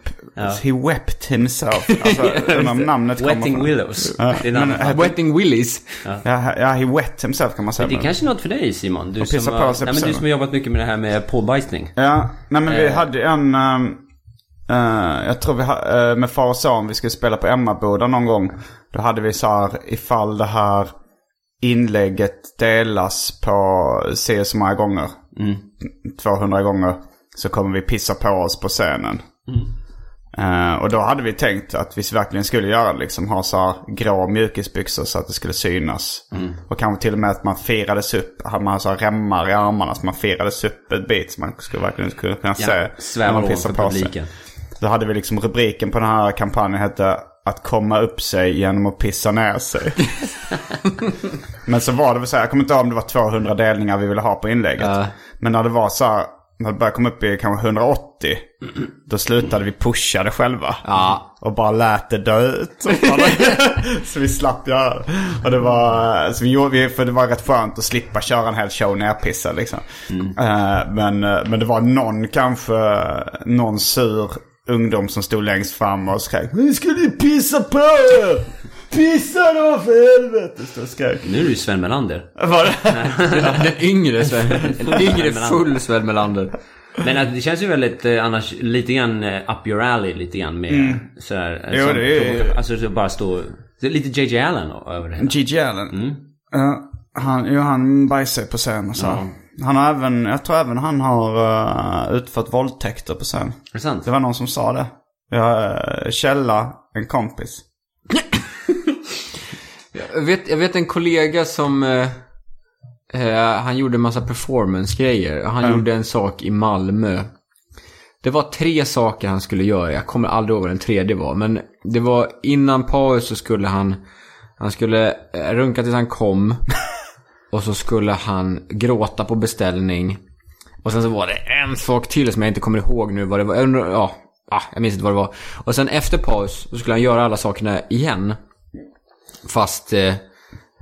[SPEAKER 2] He wept himself. Alltså, undrar om namnet kommer
[SPEAKER 3] Wetting
[SPEAKER 2] från-
[SPEAKER 3] Willows.
[SPEAKER 2] Ja,
[SPEAKER 3] det är en
[SPEAKER 2] men-
[SPEAKER 3] annan
[SPEAKER 2] äh,
[SPEAKER 4] Wetting Willis.
[SPEAKER 2] Ja, ja, he wet himself kan man säga.
[SPEAKER 3] Det är
[SPEAKER 2] men-
[SPEAKER 3] kanske är något för dig Simon? Du,
[SPEAKER 2] Och pissa
[SPEAKER 3] som,
[SPEAKER 2] på
[SPEAKER 3] har,
[SPEAKER 2] sig på
[SPEAKER 3] nej, men du
[SPEAKER 2] scenen.
[SPEAKER 3] som har jobbat mycket med det här med påbajsning.
[SPEAKER 2] Ja, nej men
[SPEAKER 3] Eh.
[SPEAKER 2] vi hade en... ehm, eh, jag tror vi ha, eh, med far och son, vi skulle spela på Emmaboda någon gång. Då hade vi så här, ifall det här inlägget delas på se så många gånger.
[SPEAKER 3] Mm.
[SPEAKER 2] 200 gånger. Så kommer vi pissa på oss på scenen.
[SPEAKER 3] Mm.
[SPEAKER 2] Eh, och då hade vi tänkt att vi verkligen skulle göra det, liksom ha så här grå mjukisbyxor så att det skulle synas.
[SPEAKER 3] Mm.
[SPEAKER 2] Och kanske till och med att man firades upp, hade man så här remmar i armarna så man firades upp ett bit så man skulle verkligen skulle kunna se när
[SPEAKER 3] Svävar
[SPEAKER 2] man
[SPEAKER 3] ovanför
[SPEAKER 2] pissar på sig.
[SPEAKER 3] publiken.
[SPEAKER 2] Då hade vi liksom rubriken på den här kampanjen hette att komma upp sig genom att pissa ner sig. Men så var det väl så här, jag kommer inte ihåg om det var 200 delningar vi ville ha på inlägget. Men när det var så här, när det började komma upp i kanske 180, då slutade vi pusha det själva. Och bara lät det dö ut. så vi slapp göra det. Och det var, så vi gjorde, vi- för det var rätt skönt att slippa köra en hel show nerpissad liksom. Eh, men, eh, men det var någon kanske, någon sur ungdom som stod längst fram och skrek Ni skulle ju pissa på er! Pissa då för helvete! Stod och skrek.
[SPEAKER 3] Nu är du ju Sven Melander.
[SPEAKER 2] Var det?
[SPEAKER 4] Den yngre Sven. En yngre full Sven Melander.
[SPEAKER 3] Men att det känns ju väldigt eh, annars lite grann eh, up your alley lite grann med sådär. eh,
[SPEAKER 2] Mm. Jo,
[SPEAKER 3] som-
[SPEAKER 2] det är-
[SPEAKER 3] Alltså så bara stå... det är Lite JJ Allen över det hela.
[SPEAKER 2] G.G. Allen.
[SPEAKER 4] Mm.
[SPEAKER 2] Ja, han, jo, han bajsar på scen och så. Han har även, jag tror även han har eh, utfört våldtäkter på scen.
[SPEAKER 3] Är det sant?
[SPEAKER 2] Det var någon som sa det. Uh, Källa, en kompis.
[SPEAKER 4] Jag vet, jag vet en kollega som... Eh, eh, han gjorde en massa performance-grejer. Han gjorde en sak i Malmö. Det var tre saker han skulle göra. Jag kommer aldrig ihåg vad den tredje var. Men det var innan paus så skulle han... Han skulle eh, runka tills han kom. Och så skulle han gråta på beställning. Och sen så var det en sak till som jag inte kommer ihåg nu vad det var. Jag undrar- Ja, ah, jag minns inte vad det var. Och sen efter paus så skulle han göra alla sakerna igen. Fast... Eh,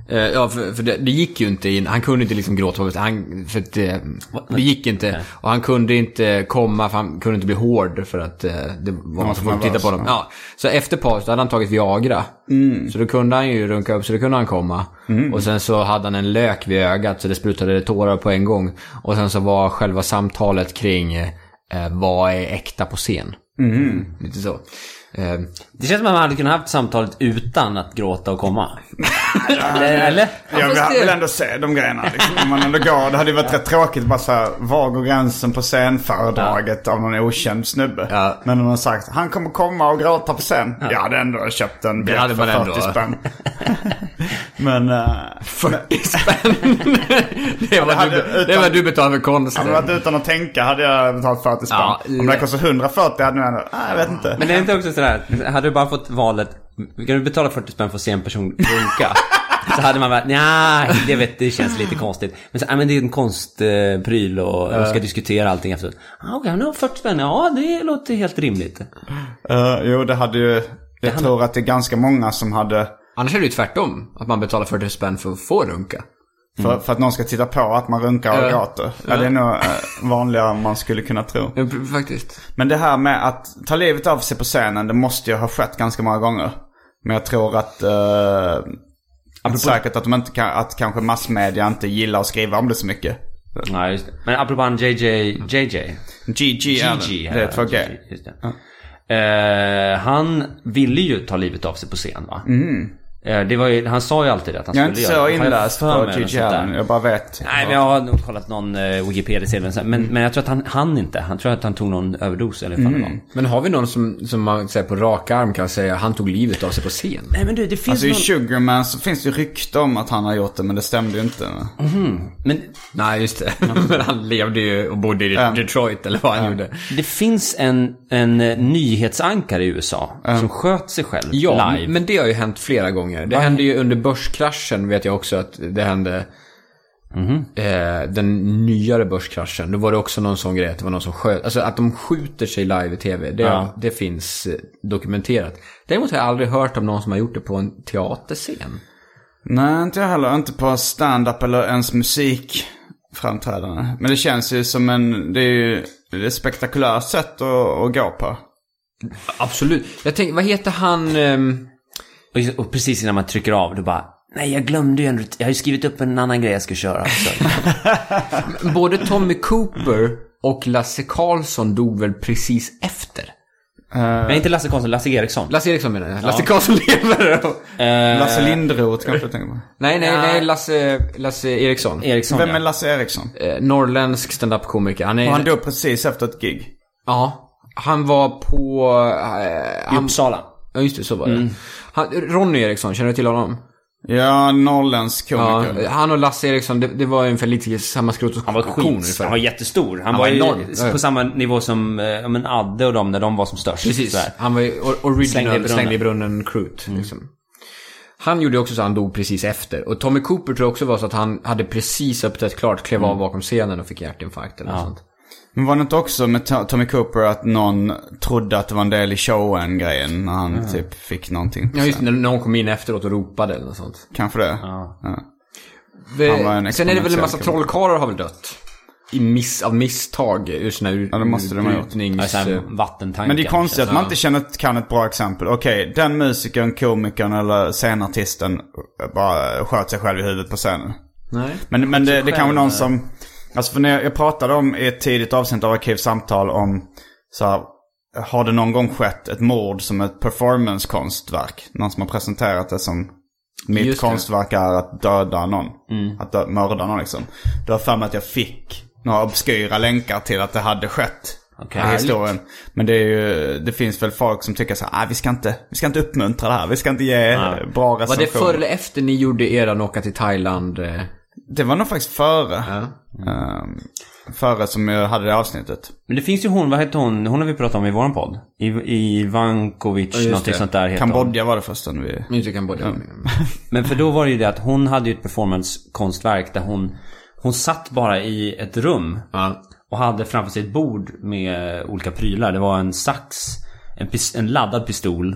[SPEAKER 4] eh, ja, för, för det, det gick ju inte in. Han kunde inte liksom gråta på beställning. Han, för att, eh, det gick inte. Och han kunde inte komma, för han kunde inte bli hård för att eh, det var någon som
[SPEAKER 2] var
[SPEAKER 4] folk tittade på
[SPEAKER 2] nervös, Mm.
[SPEAKER 4] honom. Ja. Så efter paus, då hade han tagit Viagra. Så då kunde han ju runka upp, så då kunde han komma. Och sen så hade han en lök vid ögat, så det sprutade tårar på en gång. Och sen så var själva samtalet kring eh, vad är äkta på scen?
[SPEAKER 2] Mm.
[SPEAKER 4] Lite så. Eh,
[SPEAKER 3] Det känns som att man hade kunnat haft samtalet utan att gråta och komma. Eller? eller?
[SPEAKER 2] Jag
[SPEAKER 4] fast
[SPEAKER 2] vill,
[SPEAKER 4] det-
[SPEAKER 2] vill ändå se de grejerna. Liksom. Om man ändå går. Det hade ju varit rätt tråkigt bara så här, var går gränsen på scenföredraget av någon okänd snubbe?
[SPEAKER 4] Ja.
[SPEAKER 2] Men om man sagt, han kommer komma och gråta på scen. Jag hade ändå köpt en
[SPEAKER 4] hade
[SPEAKER 2] biljett
[SPEAKER 4] man
[SPEAKER 2] för
[SPEAKER 4] ändå.
[SPEAKER 2] 40 spänn. Men eh,
[SPEAKER 4] 40 spänn! det var,
[SPEAKER 2] hade
[SPEAKER 4] du,
[SPEAKER 2] utan-
[SPEAKER 4] det var du betalade för konsten.
[SPEAKER 2] hade det varit utan att tänka hade jag betalat 40 spänn.
[SPEAKER 4] Ja,
[SPEAKER 2] om det
[SPEAKER 4] lätt.
[SPEAKER 2] kostar 140 hade jag ändå, nej, jag vet inte.
[SPEAKER 3] Men är det inte också sådär, hade du bara fått valet, kan du betala 40 spänn för att se en person runka? Så hade man varit, nja, det vet det känns lite konstigt. Men så, "Ah, men det är en konstpryl och jag ska diskutera allting efteråt. Ah, Okej, nu har 40 spänn, ja det låter helt rimligt.
[SPEAKER 2] Eh, jo, det hade ju... Jag tror att det är ganska många som hade...
[SPEAKER 4] Annars är det ju tvärtom. Att man betalar 40 spänn för att få runka.
[SPEAKER 2] För, för att någon ska titta på att man runkar och
[SPEAKER 4] Ja.
[SPEAKER 2] gråter. Ja, det är nog eh, vanligare än man skulle kunna tro.
[SPEAKER 4] Ja, p- Faktiskt.
[SPEAKER 2] Men det här med att ta livet av sig på scenen, det måste ju ha skett ganska många gånger. Men jag tror att... Uh, säkert att de inte kan, att kanske massmedia inte gillar att skriva om det så mycket.
[SPEAKER 3] Nej, just det. Men apropå han JJ, JJ.
[SPEAKER 2] GG är
[SPEAKER 3] GG.
[SPEAKER 2] det. Det är två G.
[SPEAKER 3] GG, just det. Eh, han ville ju ta livet av sig på scen va? Eh, det var ju, han sa ju alltid att han
[SPEAKER 2] Mhm. Jag är inte så
[SPEAKER 3] skulle göra det. Har jag
[SPEAKER 2] inläst
[SPEAKER 3] för
[SPEAKER 2] på
[SPEAKER 3] mig eller
[SPEAKER 2] GG
[SPEAKER 3] sånt där.
[SPEAKER 2] Allen. Jag bara vet.
[SPEAKER 3] Nej, men jag har nog kollat någon eh, Wikipedia-sida. Men, men, men jag tror att han hann inte. Han tror att han tog någon överdos eller vad fan det var.
[SPEAKER 4] Men har vi någon som, som man säger, på rak arm kan säga han tog livet av sig på scen?
[SPEAKER 3] Nej, men du, det finns
[SPEAKER 2] Alltså i Sugarman så finns det ju rykte om att han har gjort det, men det stämde ju inte.
[SPEAKER 3] Men
[SPEAKER 4] Nej, just det. Men han levde ju och bodde i Detroit eller vad han gjorde.
[SPEAKER 3] det finns en, en eh, nyhetsankare i USA som sköt sig själv
[SPEAKER 4] Ja,
[SPEAKER 3] live.
[SPEAKER 4] men det har ju hänt flera gånger. Det hände ju under börskraschen vet jag också att det hände.
[SPEAKER 3] Mhm.
[SPEAKER 4] Eh, den nyare börskraschen. Då var det också någon sån grej att det var någon som sköt. Alltså att de skjuter sig live i tv. Det,
[SPEAKER 3] Ja.
[SPEAKER 4] det finns eh, dokumenterat. Däremot har jag aldrig hört om någon som har gjort det på en teaterscen.
[SPEAKER 2] Nej, inte jag heller. Inte på stand-up eller ens musikframträdande. Men det känns ju som en... Det är ju det är ett spektakulärt sätt att, att gå på.
[SPEAKER 4] Absolut. Jag tänker, vad heter han? ehm,
[SPEAKER 3] Och, och precis innan man trycker av, då bara... Nej, jag glömde ju en rut- Jag har ju skrivit upp en annan grej jag ska köra också.
[SPEAKER 4] både Tommy Cooper och Lasse Karlsson dog väl precis efter?
[SPEAKER 3] men inte Lasse Karlsson, Lasse Eriksson.
[SPEAKER 4] Lasse Eriksson menar jag. Lasse Karlsson lever.
[SPEAKER 2] Lasse Linderoth kanske du tänker på.
[SPEAKER 4] nej, nej, nej. Lasse, Lasse Eriksson.
[SPEAKER 3] Eriksson,
[SPEAKER 2] Vem
[SPEAKER 3] ja.
[SPEAKER 2] är Lasse Eriksson?
[SPEAKER 4] Eh, norrländsk standup-komiker. Han är...
[SPEAKER 2] Och han dog precis efter ett gig.
[SPEAKER 4] Ja. Han var på... Eh,
[SPEAKER 3] I
[SPEAKER 4] han...
[SPEAKER 3] Uppsala.
[SPEAKER 4] Ja, just det. Så var det.
[SPEAKER 3] Mm.
[SPEAKER 4] Han, Ronny Eriksson, känner du till honom?
[SPEAKER 2] Ja, norrländsk
[SPEAKER 4] Ja, eh.
[SPEAKER 2] komiker.
[SPEAKER 4] han och Lasse Eriksson, det, det var ungefär lite samma skrot och
[SPEAKER 3] Han var
[SPEAKER 4] korn
[SPEAKER 3] skit,
[SPEAKER 4] ungefär.
[SPEAKER 3] han var jättestor. Han, var
[SPEAKER 4] var
[SPEAKER 3] ju
[SPEAKER 4] enorm. Ja, ja.
[SPEAKER 3] på samma nivå som eh, ja, men Adde och de när de var som störst.
[SPEAKER 4] Precis.
[SPEAKER 3] sådär.
[SPEAKER 4] Han var ju or-
[SPEAKER 3] Slängde
[SPEAKER 4] original
[SPEAKER 3] i brunnen. Mm.
[SPEAKER 4] slängde i brunnen crut liksom. Han gjorde också så att han dog precis efter. Och Tommy Cooper tror jag också var så att han hade precis uppträtt klart, klev
[SPEAKER 3] Mm.
[SPEAKER 4] av bakom scenen och fick hjärtinfarkt eller något sånt.
[SPEAKER 2] Men var det inte också med To- Tommy Cooper att någon trodde att det var en del i showen-grejen när han typ fick någonting?
[SPEAKER 4] Ja, just det, när någon kom in efteråt och ropade eller något sånt.
[SPEAKER 2] Kanske det? Han var en
[SPEAKER 4] Det, sen är det väl en massa
[SPEAKER 2] exponentiell kille.
[SPEAKER 4] trollkarlar har väl dött? I miss, av misstag ur sina ur,
[SPEAKER 2] Ja, det måste de ha gjort.
[SPEAKER 4] utbrytnings-
[SPEAKER 3] Ja, såhär vattentankar.
[SPEAKER 2] Men det är konstigt att man inte känner, kan ett bra exempel. Okej, den musikern, komikern eller scenartisten bara sköt sig själv i huvudet på scenen.
[SPEAKER 4] Nej.
[SPEAKER 2] Men, men
[SPEAKER 4] typ
[SPEAKER 2] det, det kan vara någon
[SPEAKER 4] eh.
[SPEAKER 2] som... Alltså för när jag, jag pratade om i ett tidigt avsnitt av Arkivsamtal om så här, har det någon gång skett ett mord som ett performancekonstverk? Någon som har presenterat det som mitt
[SPEAKER 4] Just det. Mm.
[SPEAKER 2] konstverk är att döda någon. Att dö, mörda någon liksom. Då har jag för mig att jag fick några obskyra länkar till att det hade skett. I historien. Men det, är ju, det finns väl folk som tycker så här, "Ah, vi ska inte, vi ska inte uppmuntra det här. Vi ska inte ge bra
[SPEAKER 4] Var det
[SPEAKER 2] recensioner.
[SPEAKER 4] före eller efter ni gjorde eran åka till Thailand? eh?
[SPEAKER 2] Det var nog faktiskt före. Ehm, före som jag hade det avsnittet.
[SPEAKER 3] Men det finns ju hon, vad heter hon? Hon har vi pratat om i våran podd. I, i Vankovic,
[SPEAKER 4] just
[SPEAKER 3] någonting
[SPEAKER 4] det.
[SPEAKER 3] sånt där heter hon.
[SPEAKER 2] Kambodja var det första när vi...
[SPEAKER 4] Nu tycker jag både
[SPEAKER 3] Men för då var det ju det att hon hade ju ett performancekonstverk där hon, hon satt bara i ett rum.
[SPEAKER 4] Ja.
[SPEAKER 3] Och hade framför sig ett bord med olika prylar. Det var en sax, en, pis, en laddad pistol.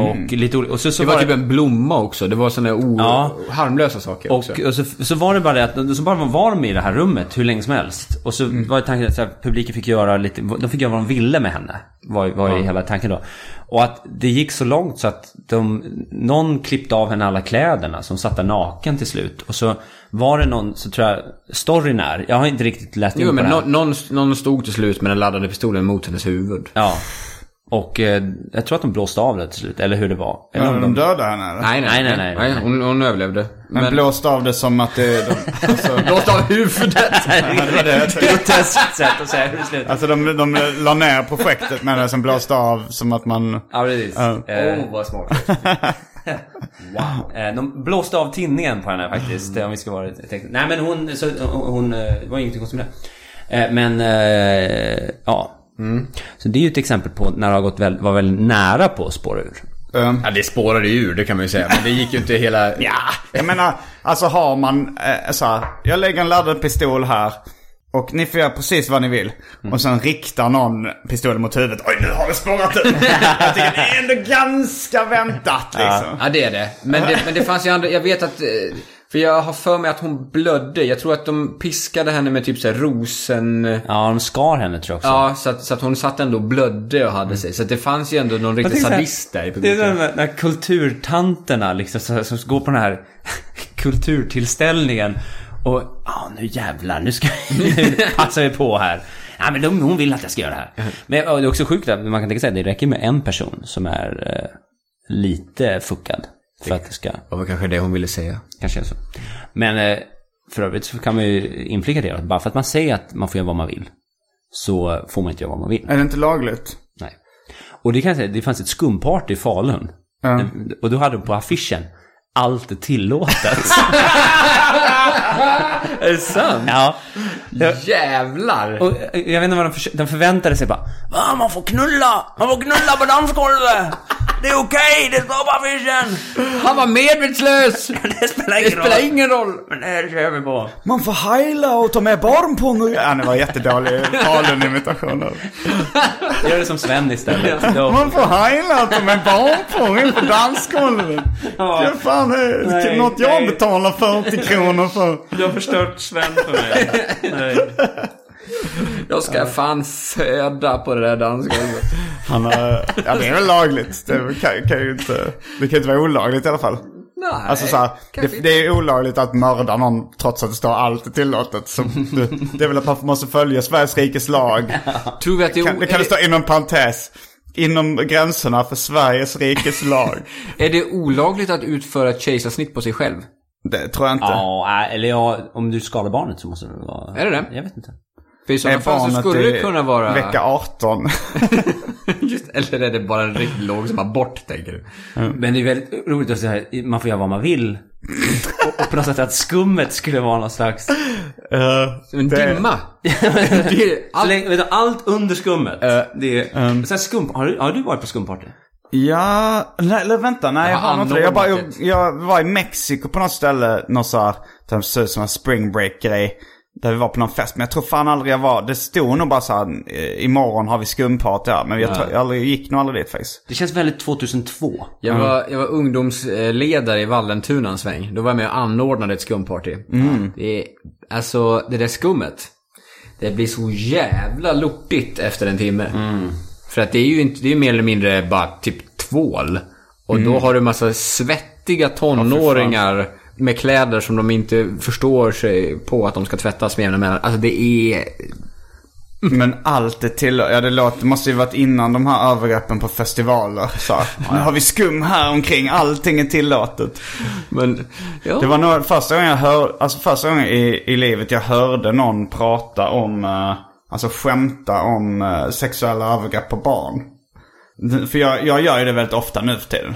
[SPEAKER 3] Och lite ol- och så, så
[SPEAKER 4] Mm. Det var typ en blomma också. Det var sådana o-
[SPEAKER 3] Ja.
[SPEAKER 4] harmlösa saker också.
[SPEAKER 3] Och, och så, så var det bara det att, så bara var de i det här rummet hur länge som helst. Och så
[SPEAKER 4] Mm.
[SPEAKER 3] var tanken att så här, publiken fick göra lite, de fick göra vad de ville med henne. Var, var ju hela tanken då. Och att det gick så långt så att de, någon klippte av henne alla kläderna som satt där naken till slut. Och så var det någon, så tror jag, storyn är, jag har inte riktigt läst in
[SPEAKER 4] Jo,
[SPEAKER 3] på
[SPEAKER 4] men
[SPEAKER 3] det här.
[SPEAKER 4] nå- någon, någon stod till slut med den laddade pistolen mot hennes huvud.
[SPEAKER 3] Ja. Och eh, jag tror att de blåste av det till slut, eller hur det var. Eller om
[SPEAKER 2] Men de dödade henne eller?
[SPEAKER 4] Nej, nej,
[SPEAKER 3] Nej, nej, nej, nej.
[SPEAKER 4] hon, hon överlevde.
[SPEAKER 2] Men, blåste av det som att det... De, alltså,
[SPEAKER 4] Blåst av huvudet!
[SPEAKER 2] det var det jag tänkte.
[SPEAKER 3] Groteskt sätt att säga hur det slutade.
[SPEAKER 2] Alltså de, de la ner projektet med det som blåste av som att man...
[SPEAKER 3] Ja, precis.
[SPEAKER 2] Ja.
[SPEAKER 3] Eh,
[SPEAKER 4] Åh, Oh, vad smart.
[SPEAKER 3] Wow. Eh, De blåste av tinningen på henne faktiskt. Om vi ska vara tekniska. Nej men hon, så, hon, hon, eh, det var ingenting konstigt med det. Eh, Men, eh, ja.
[SPEAKER 4] Mm.
[SPEAKER 3] Så det är ju ett exempel på när det har gått väl, var väldigt nära på att spåra ur.
[SPEAKER 4] Ja, det spårade ju ur, det kan man ju säga. Men det gick ju inte hela...
[SPEAKER 2] Ja, jag menar, alltså har man eh, så här, jag lägger en laddad pistol här och ni får göra precis vad ni vill.
[SPEAKER 4] Mm.
[SPEAKER 2] Och sen riktar någon pistolen mot huvudet. Oj, nu har det spårat ut. jag tycker det är ändå ganska väntat liksom.
[SPEAKER 4] Ja, det är det. Men det, men det fanns ju andra, jag vet att... eh, För jag har för mig att hon blödde. Jag tror att de piskade henne med typ såhär rosen... eh,
[SPEAKER 3] Ja, de skar henne tror jag också.
[SPEAKER 4] Ja, så att, så att hon satt ändå och blödde och hade sig. Så att det fanns ju ändå någon
[SPEAKER 3] Jag
[SPEAKER 4] riktig
[SPEAKER 3] tänker så här,
[SPEAKER 4] sadist där i
[SPEAKER 3] Det är
[SPEAKER 4] publiken.
[SPEAKER 3] som de här kulturtanterna liksom, som, som går på den här kulturtillställningen. Och ja, nu jävlar, nu ska nu passar vi på här. Ja, men de, hon vill att jag ska göra det här. Men ja, det är också sjukt att man kan tänka sig att det räcker med en person som är eh, lite fuckad. För att det ska,
[SPEAKER 4] Det var kanske det hon ville säga.
[SPEAKER 3] kanske är så. Men eh, för övrigt så kan man ju inflika det att bara för att man säger att man får göra vad man vill. Så får man inte göra vad man vill.
[SPEAKER 2] Är det inte lagligt?
[SPEAKER 3] Nej. Och det kan jag säga, det fanns ett skumparty i Falun.
[SPEAKER 2] Ja.
[SPEAKER 3] Och då hade de på affischen allt är tillåtet.
[SPEAKER 4] Är det sant?
[SPEAKER 3] ja.
[SPEAKER 4] Jävlar!
[SPEAKER 3] Och eh, jag vet inte vad de, försö- de förväntade sig bara. Va, man får knulla! Man får knulla på dansgolvet! Det är okej, det står på affischen!
[SPEAKER 4] Han var medvetslös!
[SPEAKER 3] Det spelar
[SPEAKER 4] Det
[SPEAKER 3] ingen roll.
[SPEAKER 4] spelar ingen roll!
[SPEAKER 3] Men det här kör vi på.
[SPEAKER 2] Man får heila och ta med barnpung. Ja, det var jättedålig Falun-imitation.
[SPEAKER 3] Gör det som Sven istället. Då-
[SPEAKER 2] Man får heila och ta med barnpung in på dansgolvet.
[SPEAKER 3] Ja.
[SPEAKER 2] Det fan är
[SPEAKER 3] Nej,
[SPEAKER 2] något jag
[SPEAKER 3] nej.
[SPEAKER 2] betalar 40 kronor för.
[SPEAKER 3] Du har förstört Sven för mig. Nej.
[SPEAKER 4] Jag ska fan föda på det där dansgolvet.
[SPEAKER 2] Han
[SPEAKER 4] eh,
[SPEAKER 2] har, ja det är väl lagligt. Det kan, kan ju inte, det kan ju inte vara olagligt i alla fall.
[SPEAKER 4] Nej,
[SPEAKER 2] Alltså så här, det, det är olagligt att mörda någon trots att det står allt är tillåtet. Så det, det är väl att man måste följa Sveriges rikes lag.
[SPEAKER 4] Tror vi att det är,
[SPEAKER 2] Kan, det kan det stå inom parentes. Inom gränserna för Sveriges rikes lag.
[SPEAKER 4] är det olagligt att utföra ett kejsarsnitt på sig själv?
[SPEAKER 2] Det tror jag inte.
[SPEAKER 3] Ja, eller ja, om du skadar barnet så måste det vara...
[SPEAKER 4] Är det det?
[SPEAKER 3] Jag vet inte.
[SPEAKER 4] För i sådana fall så skulle det
[SPEAKER 2] i
[SPEAKER 4] kunna vara...
[SPEAKER 2] eh, vecka 18?
[SPEAKER 4] Just, eller är det bara en riktigt låg som har bort, tänker du?
[SPEAKER 3] Mm. Men det är väldigt roligt att säga man får göra vad man vill. och, och på något sätt att skummet skulle vara någon slags...
[SPEAKER 2] Eh,
[SPEAKER 4] Som en
[SPEAKER 2] Det-
[SPEAKER 4] dimma. det är allt...
[SPEAKER 3] Allt, vet du, allt under skummet. det är... sen skum, har, du, har du varit på skumparty?
[SPEAKER 2] Ja, nej, eller vänta, nej jag
[SPEAKER 4] har
[SPEAKER 2] har nog inte det. Jag, bara, jag,
[SPEAKER 4] anordnat
[SPEAKER 2] jag var i Mexiko på något ställe, någon så här, det såg ut som en spring break grej. Där vi var på någon fest, men jag tror fan aldrig jag var, det stod nog bara så här, eh, imorgon har vi skumparty här. Men jag, tror, jag aldrig, gick nog aldrig dit faktiskt.
[SPEAKER 3] Det känns väldigt 2002.
[SPEAKER 4] Jag var, jag var ungdomsledare i Vallentuna en sväng. Då var jag med och anordnade ett skumparty.
[SPEAKER 2] Mm.
[SPEAKER 4] Det är, alltså, det där skummet. Det blir så jävla lortigt efter en timme.
[SPEAKER 2] Mm.
[SPEAKER 4] För att det är ju inte, det är mer eller mindre bara typ tvål. Och då
[SPEAKER 2] Mm.
[SPEAKER 4] har du massa svettiga tonåringar med kläder som de inte förstår sig på att de ska tvättas med jämna mellanrum. Alltså det är...
[SPEAKER 2] Men allt är till, ja det låter, det måste ju varit innan de här övergreppen på festivaler. Så, här, nu har vi skum här omkring, allting är tillåtet.
[SPEAKER 4] Men, ja.
[SPEAKER 2] Det var nog första gången jag hör, alltså första gången i, i livet jag hörde någon prata om, eh, alltså skämta om eh, sexuella övergrepp på barn. Det- För jag, jag gör ju det väldigt ofta nu för tiden.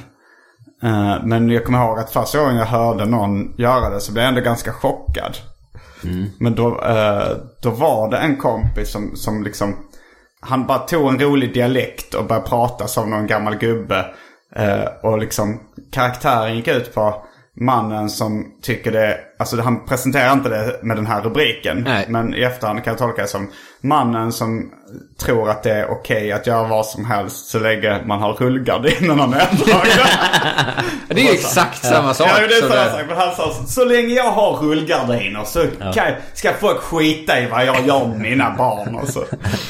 [SPEAKER 2] Eh, men jag kommer ihåg att första gången jag hörde någon göra det så blev jag ändå ganska chockad. Men då, eh, då var det en kompis som, som liksom, han bara tog en rolig dialekt och började prata som någon gammal gubbe. Eh, och liksom karaktären gick ut på mannen som tycker det Alltså han presenterar inte det med den här rubriken.
[SPEAKER 4] Nej.
[SPEAKER 2] Men i efterhand kan jag tolka det som mannen som tror att det är okej att göra vad som helst så länge man har rullgardin innan han är
[SPEAKER 4] Det är ju exakt samma sak.
[SPEAKER 2] Ja, det är
[SPEAKER 4] som
[SPEAKER 2] samma
[SPEAKER 4] det-
[SPEAKER 2] sak. Men han sa så, så länge jag har rullgardiner så kan, jag- ska folk skita i vad jag gör med mina barn och så,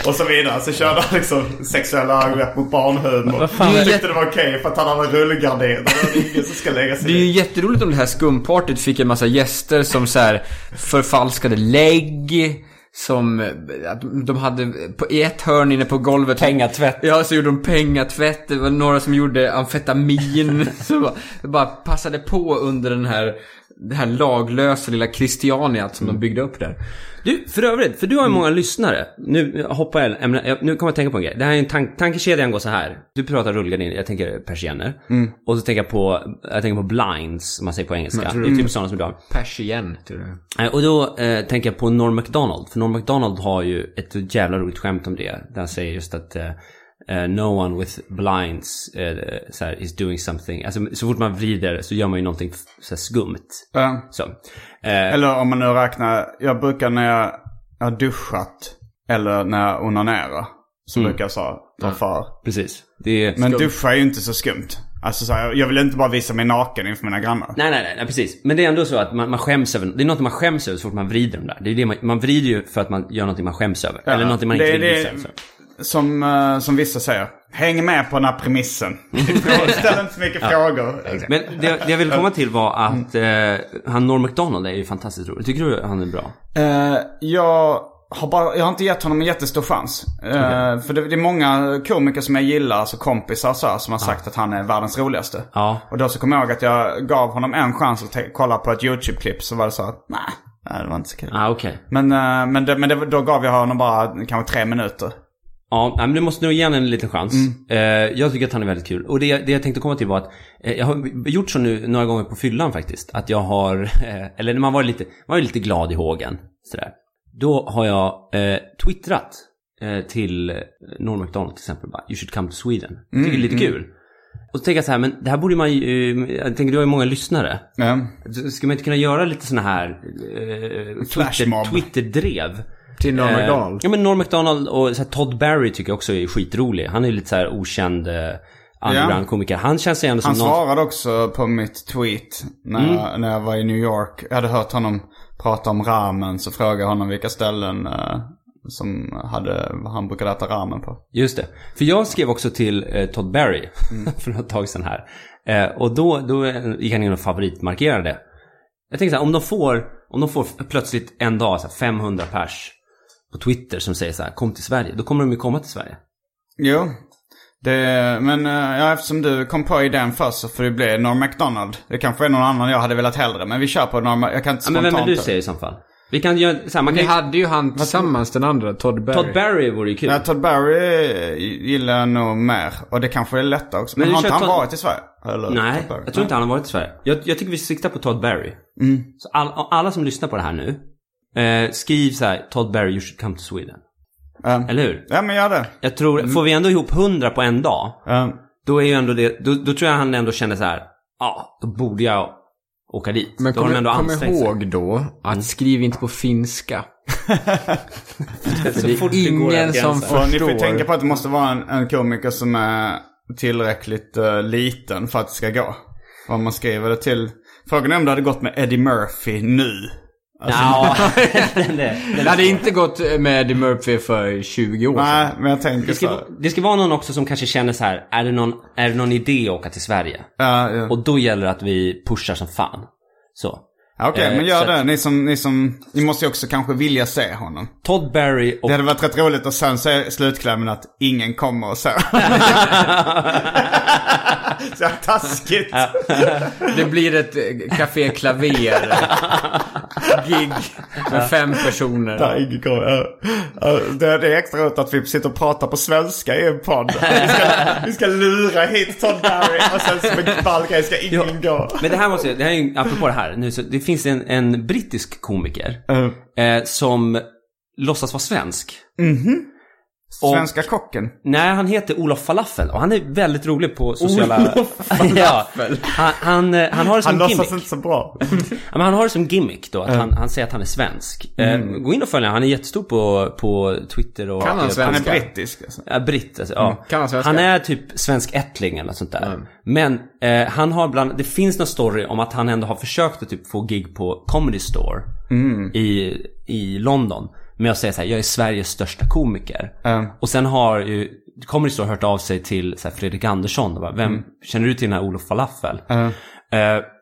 [SPEAKER 2] och så vidare. Så körde han liksom sexuella övergrepp mot barnhumor.
[SPEAKER 4] fan
[SPEAKER 2] Han
[SPEAKER 4] är det?
[SPEAKER 2] tyckte det var okej för att han hade rullgardiner. Det var ingen som ska lägga sig
[SPEAKER 4] Det är ju
[SPEAKER 2] i.
[SPEAKER 4] jätteroligt om det här skumpartyt fick en massa gäster som så här förfalskade lägg, som eh, att de hade på, i ett hörn inne på golvet.
[SPEAKER 3] Pengatvätt.
[SPEAKER 4] Ja, så gjorde de pengatvätt. Det var några som gjorde amfetamin. så bara, det bara passade på under den här, det här laglösa lilla Christianiat som de byggde upp där.
[SPEAKER 3] Mm. Du, för övrigt, för du har ju många lyssnare. Nu hoppar jag, ämne- jag nu kommer jag tänka på en grej. Det här är en tank, tankekedjan går så här. Du pratar rullgardiner, jag tänker persienner. Och så tänker jag på, jag tänker på blinds, som man säger på engelska. Det är typ sådana som du har.
[SPEAKER 4] Pers igen, tror jag.
[SPEAKER 3] Eh, Och då eh, tänker jag på Norm MacDonald. För Norm MacDonald har ju ett jävla roligt skämt om det. Där han säger just att eh, eh, No one with blinds eh, så här, is doing something. Alltså så fort man vrider så gör man ju någonting så här, skumt.
[SPEAKER 2] Ja.
[SPEAKER 3] Så. Eh,
[SPEAKER 2] Eller om man nu räknar. Jag brukar när jag har duschat eller när jag onanerar. Så
[SPEAKER 4] Mm.
[SPEAKER 2] brukar jag så ta för.
[SPEAKER 3] precis. Det är,
[SPEAKER 2] Men duscha är ju inte så skumt. Alltså så här, jag vill inte bara visa mig naken inför mina grannar.
[SPEAKER 3] Nej, nej, nej, nej, precis. Men det är ändå så att man, man skäms över... Det är något man skäms över så fort man vrider dem där. Det är det man, man vrider ju för att man gör någonting man skäms över. Eller någonting man inte
[SPEAKER 2] det-
[SPEAKER 3] vill
[SPEAKER 2] det-
[SPEAKER 3] visa. så.
[SPEAKER 2] Som, eh, som vissa säger. Häng med på den här premissen. Ställ inte så mycket frågor.
[SPEAKER 3] Men det, det jag ville komma till var att
[SPEAKER 2] Mm.
[SPEAKER 3] eh, han Norm MacDonald är ju fantastiskt rolig. Tycker du han är bra?
[SPEAKER 2] Eh, jag, har bara, jag har inte gett honom en jättestor chans. Eh, För det, det är många komiker som jag gillar, alltså kompisar så här, som har sagt att han är världens roligaste.
[SPEAKER 3] Ja.
[SPEAKER 2] Och då så kommer jag ihåg att jag gav honom en chans att te- kolla på ett YouTube-klipp. Så var det så här, "Nä, nej, det var inte så kul.
[SPEAKER 3] Ah, okej.
[SPEAKER 2] Men, eh, men, det, men det, då gav jag honom bara kanske tre minuter.
[SPEAKER 3] Ja, nej, men du måste nog ge honom en liten chans. Eh, jag tycker att han är väldigt kul. Och det, det jag tänkte komma till var att eh, jag har gjort så nu några gånger på fyllan faktiskt. Att jag har, eh, eller när man var lite, man var lite glad i hågen. Sådär. Då har jag eh, twittrat eh, till eh, Norm MacDonald till exempel. Bara, you should come to Sweden. Jag tycker det är lite kul. Och så tänker jag så här, men det här borde man ju, eh, jag tänker du har ju många lyssnare.
[SPEAKER 2] Mm.
[SPEAKER 3] Så Ska man inte kunna göra lite såna här eh, Twitter,
[SPEAKER 2] Flashmob.
[SPEAKER 3] Twitterdrev?
[SPEAKER 4] Till Norm
[SPEAKER 3] Eh,
[SPEAKER 4] Macdonald.
[SPEAKER 3] Ja men Norm MacDonald och så här, Todd Barry tycker jag också är skitrolig. Han är ju lite så här okänd eh, underground-komiker. Han känns ju ändå som
[SPEAKER 2] Han
[SPEAKER 3] någon... Mm.
[SPEAKER 2] svarade också på mitt tweet när, jag, när jag var i New York. Jag hade hört honom prata om ramen så frågade jag honom vilka ställen eh, som hade, han brukade äta ramen på.
[SPEAKER 3] Just det. För jag skrev också till eh, Todd Barry för ett tag sedan här. Eh, och då, då eh, gick han in och favoritmarkerade. Jag tänker så här, om de får, om de får plötsligt en dag så här, 500 pers på Twitter som säger så här, kom till Sverige. Då kommer de ju komma till Sverige.
[SPEAKER 2] Jo. Det, men eh, ja, eftersom du kom på idén först så får det bli Norm MacDonald. Det kanske är någon annan jag hade velat hellre. Men vi kör på Norm Jag kan inte
[SPEAKER 3] Ja, men
[SPEAKER 2] spontant...
[SPEAKER 3] vem är du säger i så fall? Vi kan göra så här, man
[SPEAKER 4] Vi
[SPEAKER 3] kan ju...
[SPEAKER 4] hade ju han tillsammans, den andra, Todd Barry.
[SPEAKER 3] Todd Barry vore ju kul.
[SPEAKER 2] Nej, Todd Barry eh, gillar jag nog mer. Och det kanske är lättare också. Men,
[SPEAKER 3] Men vi
[SPEAKER 2] har inte
[SPEAKER 3] kör
[SPEAKER 2] han
[SPEAKER 3] Todd-
[SPEAKER 2] varit i Sverige? Eller,
[SPEAKER 3] Nej,
[SPEAKER 2] Todd Barry?
[SPEAKER 3] jag tror inte han har varit i Sverige. Jag, jag tycker vi siktar på Todd Barry. Så all, alla som lyssnar på det här nu, eh, skriv så här, Todd Barry, you should come to Sweden.
[SPEAKER 2] Ja.
[SPEAKER 3] Eller hur?
[SPEAKER 2] Ja, men gör det.
[SPEAKER 3] Jag tror, får vi ändå ihop 100 på en dag,
[SPEAKER 2] Ja.
[SPEAKER 3] då är ju ändå det, då, då tror jag han ändå känner så här, ja, då borde jag åka dit.
[SPEAKER 4] Men
[SPEAKER 3] då har de
[SPEAKER 4] kom,
[SPEAKER 3] ändå
[SPEAKER 4] kom
[SPEAKER 3] ansträngt sig. Mm.
[SPEAKER 4] ihåg då att skriv inte på finska.
[SPEAKER 3] Så
[SPEAKER 4] Det
[SPEAKER 3] fort
[SPEAKER 4] är
[SPEAKER 3] det går över
[SPEAKER 4] ingen som
[SPEAKER 3] gränsen.
[SPEAKER 2] Och ni får ju
[SPEAKER 4] förstår.
[SPEAKER 2] tänka på att det måste vara en, en komiker som är tillräckligt eh, liten för att det ska gå. Om man skriver det till... Frågan är om det hade gått med Eddie Murphy nu.
[SPEAKER 3] Ja, den är-
[SPEAKER 4] Det hade inte gått eh, med Eddie Murphy för 20 år sedan.
[SPEAKER 2] Nej, men jag tänker
[SPEAKER 3] det,
[SPEAKER 2] så.
[SPEAKER 3] ska,
[SPEAKER 2] här.
[SPEAKER 3] vara- det ska vara någon också som kanske känner så här, är det någon, är det någon idé att åka till Sverige?
[SPEAKER 2] Ja, ja.
[SPEAKER 3] Och då gäller det att vi pushar som fan. Så.
[SPEAKER 2] Ja, Okej,
[SPEAKER 3] eh,
[SPEAKER 2] men
[SPEAKER 3] så
[SPEAKER 2] gör
[SPEAKER 3] att-
[SPEAKER 2] det. Ni som, ni som... Ni måste ju också kanske vilja se honom.
[SPEAKER 3] Todd Barry och...
[SPEAKER 2] Det hade varit rätt roligt och sen så är slutklämmen att ingen kommer och så. så jävla taskigt.
[SPEAKER 4] Det blir ett eh, Café Klaver gig med fem personer.
[SPEAKER 2] Nej, ingen kommer. Ja. Ja, Det det är extra roligt att vi sitter och pratar på svenska i en podd. Vi ska, vi ska lura hit Todd Barry och sen som en ball grej ska ingen gå.
[SPEAKER 3] Men det här måste jag, det här är ju, apropå det här nu så, det finns en, en brittisk komiker
[SPEAKER 2] Eh,
[SPEAKER 3] eh, som låtsas vara svensk. Och-
[SPEAKER 2] Svenska kocken.
[SPEAKER 3] Nej, han heter Olof Falafel och han är väldigt rolig på sociala... ja, han, han, eh, han har det
[SPEAKER 2] Han
[SPEAKER 3] som
[SPEAKER 2] låtsas
[SPEAKER 3] gimmick.
[SPEAKER 2] inte så bra.
[SPEAKER 3] Ja, men han har det som gimmick då, att han, han säger att han är svensk. Eh, Gå in och följ honom, han är jättestor på, på Twitter och...
[SPEAKER 4] Kan han
[SPEAKER 3] eh,
[SPEAKER 4] svenska?
[SPEAKER 2] Han är brittisk alltså.
[SPEAKER 3] Ja, britt alltså, ja.
[SPEAKER 4] Mm. Kan han svenska? Mm.
[SPEAKER 3] Han är typ svensk ättling eller något sånt där. Men eh, han har bland, det finns någon story om att han ändå har försökt att typ få gig på Comedy Store
[SPEAKER 4] Mm.
[SPEAKER 3] i, i London. Men jag säger så här, jag är Sveriges största komiker.
[SPEAKER 4] Mm.
[SPEAKER 3] Och sen har ju Comedy Store hört av sig till så här, Fredrik Andersson och bara, vem
[SPEAKER 4] Mm.
[SPEAKER 3] känner du till den här Olof Falafel? Eh,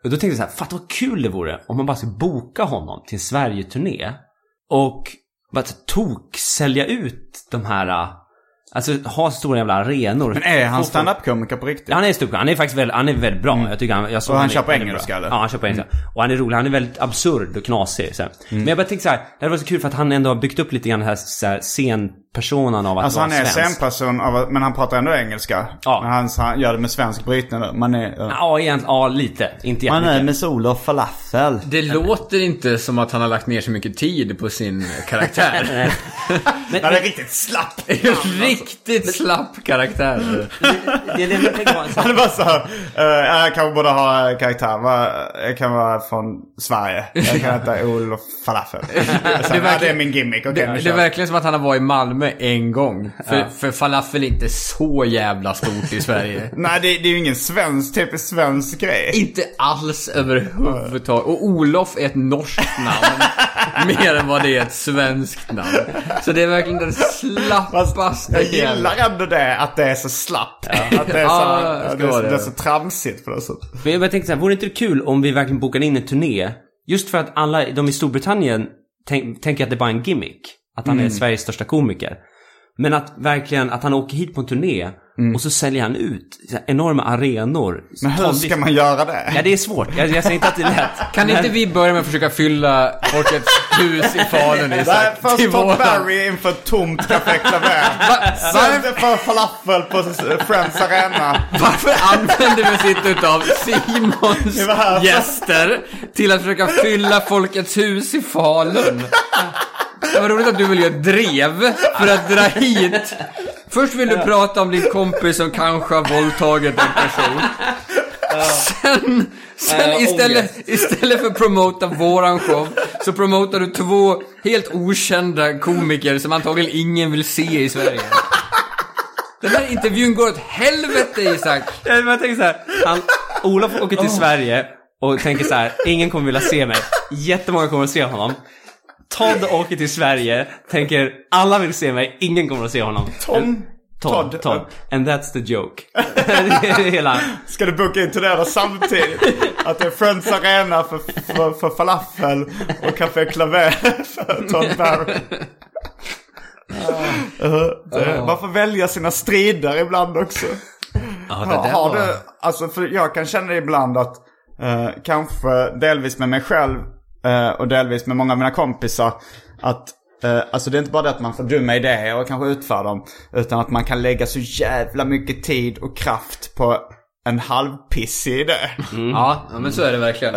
[SPEAKER 3] och då tänkte jag så här, fatta vad kul det vore om man bara skulle boka honom till en Sverige-turné. Och bara så här, tok sälja ut de här eh, Alltså ha stora jävla arenor.
[SPEAKER 2] Men är han
[SPEAKER 3] Få-
[SPEAKER 2] standup-komiker på riktigt?
[SPEAKER 3] Han är stupig. Han är faktiskt väldigt, han är väldigt bra. Jag tycker han, jag såg
[SPEAKER 2] Och han
[SPEAKER 3] är-
[SPEAKER 2] kör på
[SPEAKER 3] är
[SPEAKER 2] engelska,
[SPEAKER 3] bra.
[SPEAKER 2] eller?
[SPEAKER 3] Ja, han kör på engelska. Och han är rolig. Han är väldigt absurd och knasig. Så.
[SPEAKER 2] Mm.
[SPEAKER 3] här. Men jag bara tänkte så här, det var så kul för att han ändå har byggt upp lite grann den här, så här scenpersonan av att
[SPEAKER 2] Alltså
[SPEAKER 3] vara
[SPEAKER 2] han är
[SPEAKER 3] svensk.
[SPEAKER 2] scenperson, av- men han pratar ändå engelska.
[SPEAKER 3] Ja.
[SPEAKER 2] Men han, han gör det med svensk brytning då. Man är... ja.
[SPEAKER 3] Ja, egentligen. Ja, lite. Inte
[SPEAKER 6] Man
[SPEAKER 3] jättemycket.
[SPEAKER 6] är Eh, med Olof falafel.
[SPEAKER 4] Det låter inte som att han har lagt ner så mycket tid på sin karaktär.
[SPEAKER 3] Men,
[SPEAKER 2] Han är
[SPEAKER 3] men,
[SPEAKER 2] riktigt slapp.
[SPEAKER 4] Riktigt slapp karaktär.
[SPEAKER 3] det är det jag tänker på.
[SPEAKER 2] Han är bara såhär, uh, jag kanske borde ha eh, karaktär. Va- Jag kan vara från Sverige. Jag kan heta Olof Falafel. det,
[SPEAKER 4] Det är
[SPEAKER 2] verkligen, det är
[SPEAKER 4] verkligen-
[SPEAKER 2] min gimmick, okej
[SPEAKER 4] Det,
[SPEAKER 2] nu
[SPEAKER 4] det är
[SPEAKER 2] kör vi.
[SPEAKER 4] verkligen som att han har varit i Malmö en gång. För, för falafel är inte så jävla stort i Sverige.
[SPEAKER 2] Nej det, det är ju ingen svensk, typisk svensk grej.
[SPEAKER 4] inte alls överhuvudtaget. Och Olof är ett norskt namn. mer än vad det är ett svenskt namn. Så det är verkligen den slappaste
[SPEAKER 2] Jag
[SPEAKER 4] jävla-
[SPEAKER 2] gillar ändå det, att det är så slappt. Att det är så,
[SPEAKER 4] Ja, det
[SPEAKER 2] det,
[SPEAKER 4] ska
[SPEAKER 2] är så,
[SPEAKER 4] vara
[SPEAKER 2] det.
[SPEAKER 4] det.
[SPEAKER 2] är så tramsigt på något sätt.
[SPEAKER 3] Men jag bara tänkte så här, vore det inte kul om vi verkligen bokade in en turné? Just för att alla de i Storbritannien tänk, tänker att det bara är en gimmick. Att han är Sveriges största komiker. Men att verkligen, att han åker hit på en turné och så säljer han ut så här, enorma arenor.
[SPEAKER 2] Men hur ska man göra det?
[SPEAKER 3] Ja, det är svårt. Jag, jag säger inte att det är lätt.
[SPEAKER 4] Kan inte vi börja med att försöka fylla Folkets hus i Falun
[SPEAKER 2] Nej,
[SPEAKER 4] Isak?
[SPEAKER 2] först
[SPEAKER 4] Till
[SPEAKER 2] Todd
[SPEAKER 4] våran-
[SPEAKER 2] Barry inför ett tomt Café Claver.
[SPEAKER 4] Va-
[SPEAKER 2] Sen
[SPEAKER 4] varför-
[SPEAKER 2] för falafel på Friends Arena.
[SPEAKER 4] Varför använder vi sitt utav Simons
[SPEAKER 2] Det var här.
[SPEAKER 4] gäster till att försöka fylla Folkets hus i Falun? Det var roligt att du ville göra ett drev för att dra hit. Först vill du prata om din kompis som kanske har våldtagit en person. Sen,
[SPEAKER 3] jag har
[SPEAKER 4] sen istället, istället för att promota våran show så promotar du två helt okända komiker som antagligen ingen vill se i Sverige. Den här intervjun går åt helvete Isak!
[SPEAKER 3] Jag bara tänker så här, han, Olof åker till Sverige och tänker så här, ingen kommer vilja se mig. Jättemånga kommer att se honom. Todd åker till Sverige, tänker alla vill se mig, ingen kommer att se honom.
[SPEAKER 2] Tom.
[SPEAKER 3] Todd,
[SPEAKER 2] Todd.
[SPEAKER 3] Todd. And that's the joke. det är hela...
[SPEAKER 2] Ska du boka in turnéerna samtidigt? Att det är Friends Arena för, för, för falafel och Café Claver för Todd Barry. Uh, uh, man får välja sina strider ibland också. Ha- har du, alltså för jag kan känna ibland att eh, kanske delvis med mig själv eh, och delvis med många av mina kompisar att eh, Alltså det är inte bara det att man får dumma idéer och kanske utför dem. Utan att man kan lägga så jävla mycket tid och kraft på en halvpissig idé.
[SPEAKER 4] Ja, ja, men så är det
[SPEAKER 2] Eh,
[SPEAKER 4] verkligen.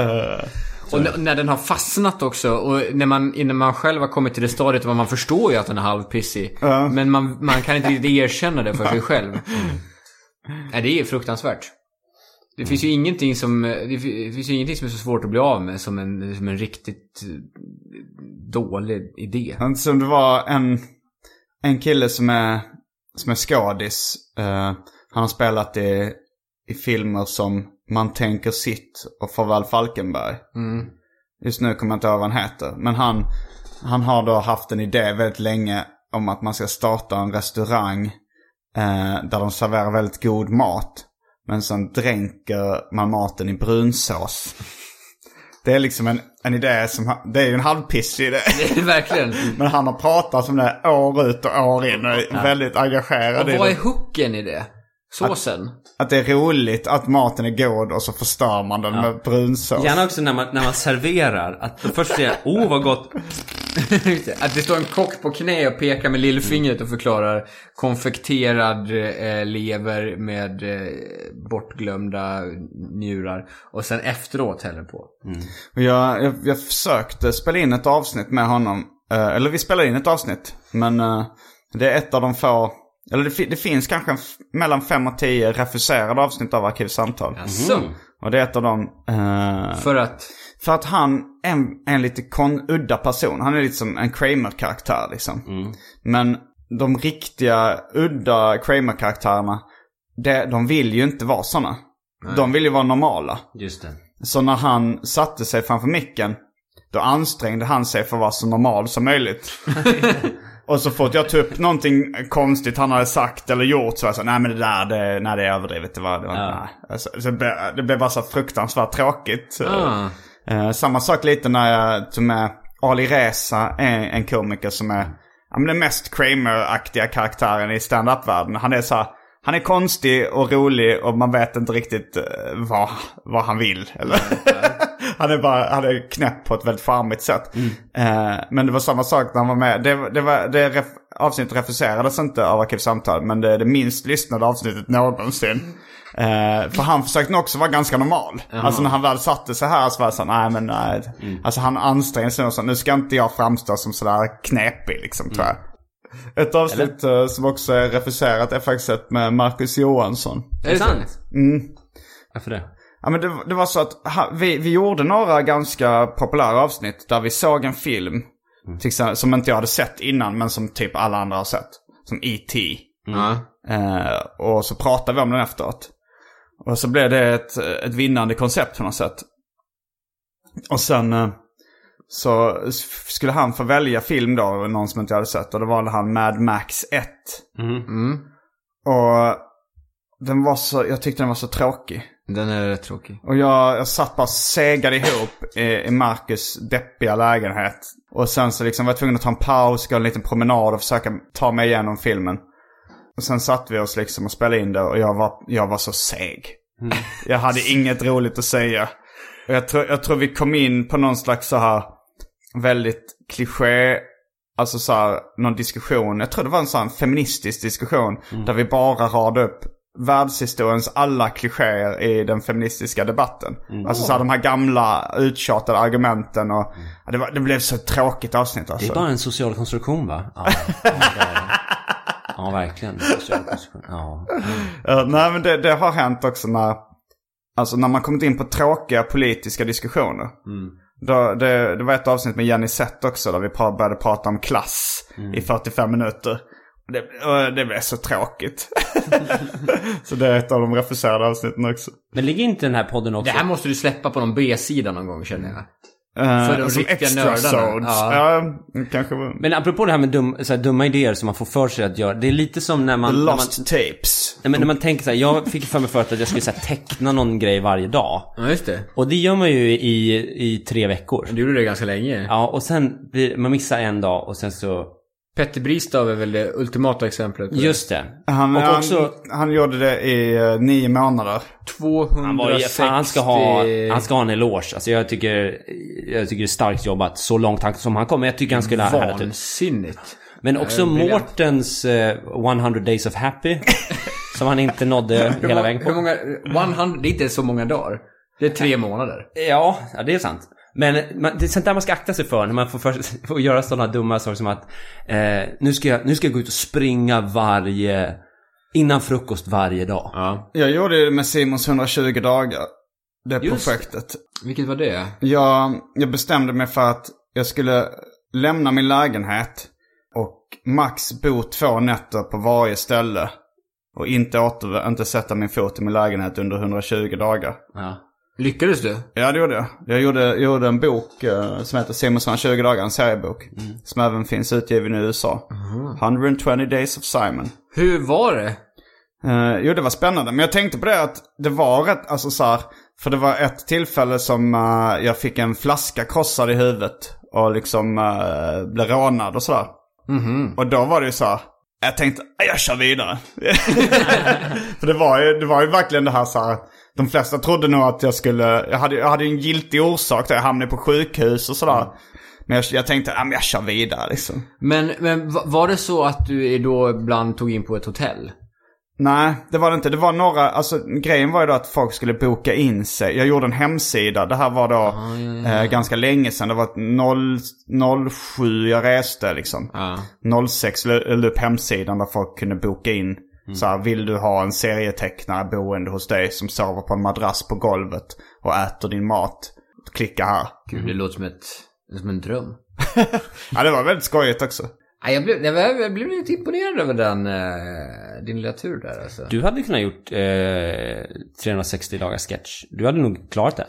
[SPEAKER 4] och n- när den har fastnat också, och när man, innan man själv har kommit till det stadiet där man förstår ju att den är halvpissig. Men man, man kan inte riktigt erkänna det för sig själv. Nej, det är fruktansvärt. Det finns
[SPEAKER 2] Mm.
[SPEAKER 4] ju ingenting som, det fi- det finns ju ingenting som är så svårt att bli av med som en, som en riktigt eh, dålig idé.
[SPEAKER 2] Men Som det var en, en kille som är, som är skådis. eh, han har spelat i, i filmer som Man tänker sitt och Farväl Falkenberg. Just nu kommer jag inte ihåg vad han heter. Men han, han har då haft en idé väldigt länge om att man ska starta en restaurang eh, där de serverar väldigt god mat. Men sen dränker man maten i brunsås. Det är liksom en, en idé som, han- det är ju en halvpissig idé.
[SPEAKER 4] verkligen.
[SPEAKER 2] Men han har pratat om det år ut och år in och är väldigt engagerad i
[SPEAKER 4] Vad är
[SPEAKER 2] det.
[SPEAKER 4] hooken i det? Såsen?
[SPEAKER 2] Att det är roligt att maten är god och så förstör man den med brunsås.
[SPEAKER 3] Gärna också när man, när man serverar, att de först säger åh oh, vad gott.
[SPEAKER 4] Att det står en kock på knä och pekar med lillfingret och förklarar konfekterad eh, lever med eh, bortglömda njurar. Och sen efteråt häller på.
[SPEAKER 2] Och Jag, jag, jag försökte spela in ett avsnitt med honom. Eh, eller vi spelade in ett avsnitt. Men eh, Det är ett av de få, eller det, fi- det finns kanske en f- mellan fem och tio refuserade avsnitt av Arkivsamtal.
[SPEAKER 4] Jaså?
[SPEAKER 2] Och det är ett av dem. eh,
[SPEAKER 4] För att...
[SPEAKER 2] för att han är en, är en lite kon, udda person. Han är lite som en Kramer-karaktär liksom. Men de riktiga udda Kramer-karaktärerna, det, de vill ju inte vara sådana. De vill ju vara normala.
[SPEAKER 3] Just det.
[SPEAKER 2] Så när han satte sig framför micken, då ansträngde han sig för att vara så normal som möjligt. Och så fort jag tog upp någonting konstigt han hade sagt eller gjort så var jag så nej men det där, det, nej det är överdrivet. Det, var, det, var, nej. Alltså, så det, blev- det blev bara så fruktansvärt tråkigt. Eh, samma sak lite när jag tog med Ali Reza, en, en komiker som är ja, men den mest Kramer-aktiga karaktären i stand-up-världen. Han är så här, han är konstig och rolig och man vet inte riktigt eh, vad, vad han vill. Eller? han, är bara, han är knäpp på ett väldigt charmigt sätt. Eh, men det var samma sak när han var med. Det, var- det, var, det ref, avsnittet refuserades inte av Arkivsamtal, men det är det minst lyssnade avsnittet någonsin. Eh, för han försökte nog också vara ganska normal. Alltså när han väl satte sig här så var jag så här, nej men nej. Alltså han ansträngde sig och så, nu ska inte jag framstå som sådär knepig liksom tror jag. Ett avsnitt eh, som också är refuserat är faktiskt ett med Marcus Johansson. Mm.
[SPEAKER 4] Är det sant?
[SPEAKER 3] Varför det?
[SPEAKER 2] Ja, men det, det var så att ha, vi, vi gjorde några ganska populära avsnitt där vi såg en film. Till exempel, som inte jag hade sett innan men som typ alla andra har sett. Som E.T.
[SPEAKER 4] Ja.
[SPEAKER 2] Eh, och så pratade vi om den efteråt. Och så blev det ett, ett vinnande koncept på något sätt. Och sen eh, så s- skulle han få välja film då, någon som inte jag hade sett. Och då valde han Mad Max 1. Och den var så, jag tyckte den var så tråkig.
[SPEAKER 4] Den är rätt tråkig.
[SPEAKER 2] Och jag, jag satt bara och segade ihop i, i Marcus deppiga lägenhet. Och sen så liksom var jag tvungen att ta en paus, gå en liten promenad och försöka ta mig igenom filmen. Och sen satt vi oss liksom och spelade in det och jag var, jag var så seg. Jag hade inget roligt att säga. Och jag, tror jag tror vi kom in på någon slags så här väldigt kliché, alltså så här, någon diskussion. Jag tror det var en sån feministisk diskussion. Där vi bara radade upp världshistoriens alla klichéer i den feministiska debatten.
[SPEAKER 3] Mm.
[SPEAKER 2] Alltså så här, de här gamla uttjatade argumenten och ja, det, var, det blev så ett tråkigt avsnitt alltså.
[SPEAKER 3] Det är bara en social konstruktion va? Ja, ja, det är det. ja verkligen. En Social konstruktion. Ja.
[SPEAKER 2] Eh, nej men det, det har hänt också när, alltså när man kommit in på tråkiga politiska diskussioner.
[SPEAKER 4] Mm.
[SPEAKER 2] Då, det, det var ett avsnitt med Jenny Sett också där vi pra- började prata om klass
[SPEAKER 4] Mm.
[SPEAKER 2] i 45 minuter. Det, och det blev så tråkigt. så det är ett av de refuserade avsnitten också.
[SPEAKER 3] Men ligger inte den här podden
[SPEAKER 4] Det
[SPEAKER 3] också...
[SPEAKER 4] här måste du släppa på någon B-sida någon gång känner jag.
[SPEAKER 2] Eh,
[SPEAKER 4] För de
[SPEAKER 2] som
[SPEAKER 4] riktiga
[SPEAKER 2] extra
[SPEAKER 4] nördarna.
[SPEAKER 2] sods.
[SPEAKER 4] Ja.
[SPEAKER 2] Ja. kanske.
[SPEAKER 3] Men apropå det här med dum, så här, dumma idéer som man får för sig att göra. Det är lite som när man... När man
[SPEAKER 2] Lost tapes.
[SPEAKER 3] nej, men när man tänker så här, jag fick för mig förut att jag skulle så här, teckna någon grej varje dag.
[SPEAKER 4] Ja, just det.
[SPEAKER 3] Och det gör man ju i, i tre veckor.
[SPEAKER 4] Du gjorde det ganska länge.
[SPEAKER 3] Ja, och sen blir, man missar en dag och sen så...
[SPEAKER 4] Petter Bristav är väl det ultimata exemplet. på det.
[SPEAKER 3] Just det.
[SPEAKER 2] Han,
[SPEAKER 3] och också...
[SPEAKER 2] han, han gjorde det i eh, nio månader.
[SPEAKER 4] 260...
[SPEAKER 3] Han, var, ju- fan, han, ska ha, han ska ha en eloge. Alltså jag tycker, jag tycker det är starkt jobbat så långt han, som han kom. Men jag tycker han skulle ha härdat ut.
[SPEAKER 4] Vansinnigt.
[SPEAKER 3] Men också
[SPEAKER 4] briljant.
[SPEAKER 3] Mårtens eh, 100 Days of Happy. som han inte nådde
[SPEAKER 4] Hur
[SPEAKER 3] hela
[SPEAKER 4] många-
[SPEAKER 3] vägen
[SPEAKER 4] Hur
[SPEAKER 3] på.
[SPEAKER 4] många... 100, det är inte så många dagar. Det är tre månader.
[SPEAKER 3] Ja, ja, det är sant. Men man, det är sånt där man ska akta sig för när man får, för, får göra sådana dumma saker som att eh, nu, ska jag, nu ska jag gå ut och springa varje... Innan frukost varje dag.
[SPEAKER 4] Ja.
[SPEAKER 2] Jag gjorde det med Simons 120 dagar. Det
[SPEAKER 3] Just det.
[SPEAKER 2] projektet.
[SPEAKER 4] Vilket var det?
[SPEAKER 2] Jag, jag bestämde mig för att jag skulle lämna min lägenhet och max bo två nätter på varje ställe. Och inte, åter, inte sätta min fot i min lägenhet under 120 dagar.
[SPEAKER 4] Lyckades du?
[SPEAKER 2] Ja, det gjorde jag. Jag gjorde, gjorde en bok eh, som heter Simonsson 20 dagar, en seriebok. Som även finns utgiven i USA. 120 Days of Simon.
[SPEAKER 4] Hur var det?
[SPEAKER 2] Eh, jo, det var spännande. Men jag tänkte på det att det var rätt, alltså så här, För det var ett tillfälle som eh, jag fick en flaska krossad i huvudet. Och liksom eh, blev rånad och sådär. Och då var det ju så här. Jag tänkte, "Ah, jag kör vidare. för det var, ju, det var ju verkligen det här så här. De flesta trodde nog att jag skulle, jag hade, jag hade ju en giltig orsak där jag hamnade på sjukhus och sådär. Men jag, jag tänkte, "Ah, men jag kör vidare liksom.
[SPEAKER 4] Men, men va- var det så att du då ibland tog in på ett hotell?
[SPEAKER 2] Nej, det var det inte. Det var några, alltså grejen var ju då att folk skulle boka in sig. Jag gjorde en hemsida. Det här var då Eh, ganska länge sedan. Det var 07 jag reste liksom. 06 la la upp hemsidan där folk kunde boka in. Så här, vill du ha en serietecknare boende hos dig som sover på en madrass på golvet och äter din mat? Klicka här.
[SPEAKER 4] Gud, det låter som, ett, som en dröm.
[SPEAKER 2] Ja, det var väldigt skojigt också.
[SPEAKER 4] Nej, jag, blev, jag, blev, jag blev lite imponerad över den, eh, din lilla tur där alltså.
[SPEAKER 3] Du hade kunnat gjort eh, 360 dagar sketch. Du hade nog klarat det.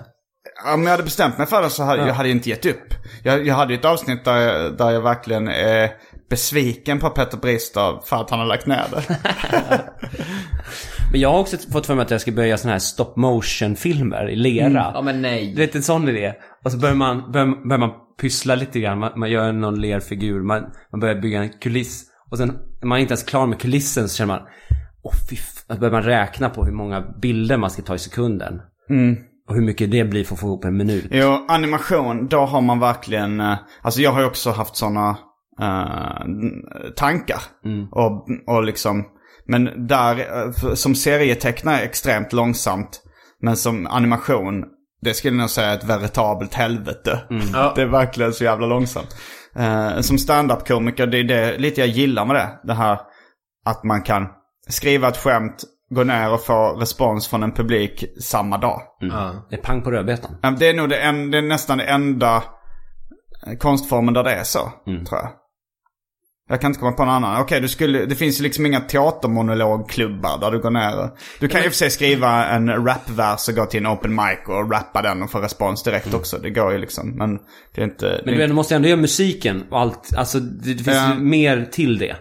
[SPEAKER 2] Om jag hade bestämt mig för det så hade jag hade inte gett upp. Jag, jag hade ju ett avsnitt där jag, där jag verkligen är besviken på Petter Bristav för att han har lagt ner det.
[SPEAKER 3] Men jag har också fått för mig att jag ska börja såna här stop motion filmer i lera.
[SPEAKER 4] Ja, men nej.
[SPEAKER 3] Du vet en sån idé. Och så börjar man, börjar, börjar man pyssla lite grann. Man, man gör någon lerfigur. Man, man börjar bygga en kuliss. Och sen när man är inte ens klar med kulissen så känner man... Åh fy f-" Då börjar man räkna på hur många bilder man ska ta i sekunden. Och hur mycket det blir för att få ihop en minut.
[SPEAKER 2] Jo, animation, då har man verkligen... eh, Alltså jag har ju också haft sådana tankar. Och, och liksom... Men där, eh, för- som serietecknare, extremt långsamt. Men som animation, det skulle jag nog säga är ett veritabelt helvete. Det är verkligen så jävla långsamt. Eh, som standup-komiker, det är det, lite jag gillar med det. Det här att man kan skriva ett skämt, gå ner och få respons från en publik samma dag.
[SPEAKER 3] Det är pang på rödbetan.
[SPEAKER 2] Ja, Det är nog det, en, det är nästan det enda eh, konstformen där det är så,
[SPEAKER 3] Mm.
[SPEAKER 2] tror jag. Jag kan inte komma på någon annan. Okej, du skulle, det finns ju liksom inga teatermonologklubbar där du går ner. och- Du kan ju i och för sig skriva en rapvers och gå till en open mic och rappa den och få respons direkt också. Det går ju liksom. Men det är inte...
[SPEAKER 3] Mm. Men
[SPEAKER 2] det,
[SPEAKER 3] du vet, du måste ändå göra musiken och allt. Alltså det, det finns
[SPEAKER 2] Ja.
[SPEAKER 3] ju mer till det.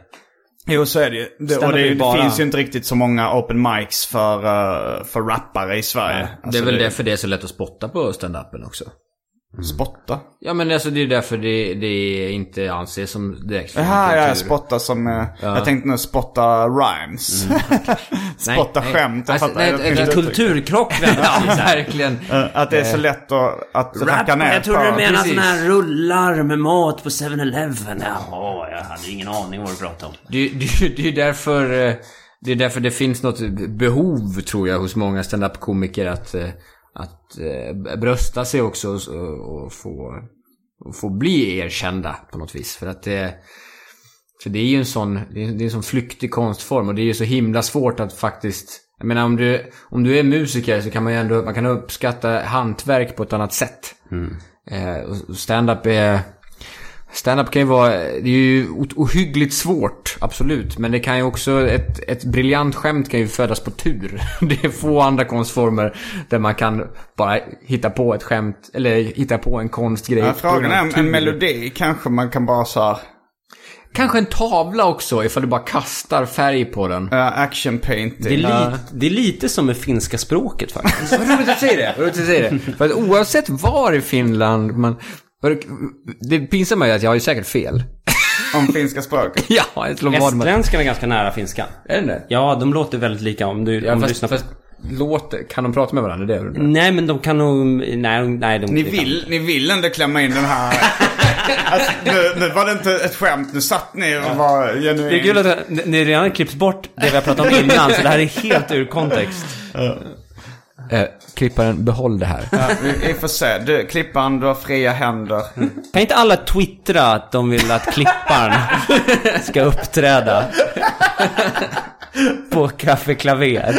[SPEAKER 2] jo, så är det ju. Det, och
[SPEAKER 3] Stand-up är
[SPEAKER 2] det,
[SPEAKER 3] ju bara-
[SPEAKER 2] det finns ju inte riktigt så många open mics för, eh, för rappare i Sverige.
[SPEAKER 4] det
[SPEAKER 2] Alltså,
[SPEAKER 4] är väl därför det är så lätt att spotta på stand-upen också.
[SPEAKER 2] Spotta.
[SPEAKER 4] Ja men alltså det är därför det, det inte anses som direkt
[SPEAKER 2] Jaha, ja,
[SPEAKER 4] filmkultur.
[SPEAKER 2] jag spottar som... eh, Jag tänkte nu spotta rhymes.
[SPEAKER 3] Mm.
[SPEAKER 2] spotta
[SPEAKER 4] nej.
[SPEAKER 2] skämt. Jag
[SPEAKER 4] Alltså,
[SPEAKER 2] fattar,
[SPEAKER 4] nej,
[SPEAKER 2] jag
[SPEAKER 4] nej,
[SPEAKER 2] tänkte-
[SPEAKER 4] kultur-
[SPEAKER 3] Kulturkrock väntar
[SPEAKER 4] Ja,
[SPEAKER 3] vi så här.
[SPEAKER 4] verkligen.
[SPEAKER 2] Eh, Att det är så lätt att, att racka ner
[SPEAKER 3] jag trodde
[SPEAKER 2] på.
[SPEAKER 3] du menade
[SPEAKER 4] precis.
[SPEAKER 3] såna här rullar med mat på 7-Eleven. Jaha, jag hade ingen aning vad du pratade om.
[SPEAKER 4] Det, det, det är därför eh, det är därför det finns något behov tror jag hos många standup-komiker att, eh, att eh, brösta sig också och, och, få, och få bli erkända på något vis. För att det, för det är ju en sån, det är, det är en sån flyktig konstform och det är ju så himla svårt att faktiskt jag menar om du, om du är musiker så kan man ju ändå man kan uppskatta hantverk på ett annat sätt. Eh, och- och stand-up är... Stand-up kan ju vara, det är ju o- ohyggligt svårt, absolut. Men det kan ju också, ett, ett briljant skämt kan ju födas på tur. Det är få andra konstformer där man kan bara hitta på ett skämt, eller hitta på en konstgrej.
[SPEAKER 2] Ja, frågan är om
[SPEAKER 4] Tur.
[SPEAKER 2] en melodi kanske man kan bara så här...
[SPEAKER 4] Kanske en tavla också, ifall du bara kastar färg på den.
[SPEAKER 2] eh, action painting.
[SPEAKER 3] Det är, lite, det är lite som med finska språket faktiskt.
[SPEAKER 4] Vad roligt att du säger det. Vad roligt att du säger det. För att oavsett var i Finland man... för- Det pinsamma är ju att jag har ju säkert fel.
[SPEAKER 2] eh, Om finska språket.
[SPEAKER 4] Ja, jag slår vad man...
[SPEAKER 3] Estländskan är ganska nära finskan.
[SPEAKER 4] Är den det?
[SPEAKER 3] Ja, de låter väldigt lika om du, om
[SPEAKER 4] Ja,
[SPEAKER 3] du
[SPEAKER 4] fast,
[SPEAKER 3] lyssnar på... Mm.
[SPEAKER 4] fast låter... Kan de prata med varandra? Det är det.
[SPEAKER 3] Nej, men de kan nog... Nej, de- nej de
[SPEAKER 2] Ni
[SPEAKER 3] de
[SPEAKER 2] vill, ni vill ändå klämma in den här... alltså, nu, nu var det inte ett skämt. Nu satt ni och var genuint...
[SPEAKER 3] Kan. Det är kul att det- det det redan klipps bort det vi har pratat om innan, så det här är helt ur kontext.
[SPEAKER 4] Eh, klipparen, behåll det här.
[SPEAKER 2] Ja, vi, vi får se. Du, klippan, du har fria händer.
[SPEAKER 3] Kan inte alla twittra att de vill att klipparen ska uppträda? På Café Klaver.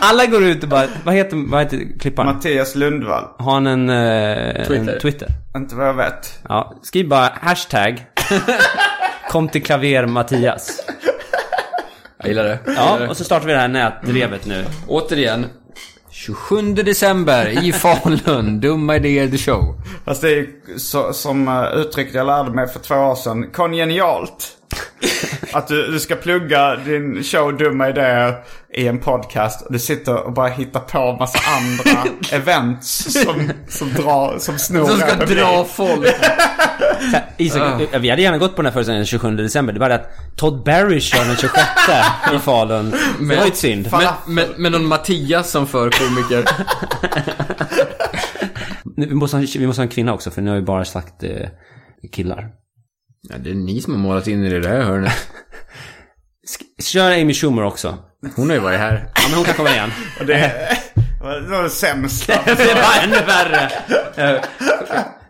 [SPEAKER 3] Alla går ut och bara, vad heter, vad heter klipparen?
[SPEAKER 2] Mattias Lundvall.
[SPEAKER 3] Har han en, eh,
[SPEAKER 4] Twitter.
[SPEAKER 3] en Twitter?
[SPEAKER 2] Inte vad jag vet.
[SPEAKER 3] Ja, skriv bara hashtag. Kom till Klaver Mattias.
[SPEAKER 4] Jag gillar det.
[SPEAKER 3] Ja, och så startar vi det här nätdrevet nu.
[SPEAKER 4] Återigen. 27 december i Falun. Dumma idéer the show.
[SPEAKER 2] Fast det är ju så, som eh, uttryck jag lärde mig för två år sedan. Kongenialt. Att du, du ska plugga din show Dumma Idéer i en podcast. Och du sitter och bara hittar på massa andra events som, som, drar, som snor
[SPEAKER 4] De ska
[SPEAKER 2] en publik.
[SPEAKER 4] dra folk.
[SPEAKER 3] Isak, ja, vi hade gärna gått på den här föreställningen den 27 december. Det var det att Todd Barry kör den 26 i Falun. Det var ju ett synd.
[SPEAKER 4] Men, men, men någon Mattias som för komiker.
[SPEAKER 3] Nu, Vi måste, ha, vi måste ha en kvinna också, för nu har vi bara sagt eh, killar.
[SPEAKER 4] Ja, det är ni som har målat in i det där hörnet.
[SPEAKER 3] Sk- Kör Amy Schumer också.
[SPEAKER 4] Hon har ju varit här.
[SPEAKER 3] Ja, men hon kan komma igen.
[SPEAKER 2] Och det, det var det sämsta.
[SPEAKER 3] Det var ännu värre. Eh,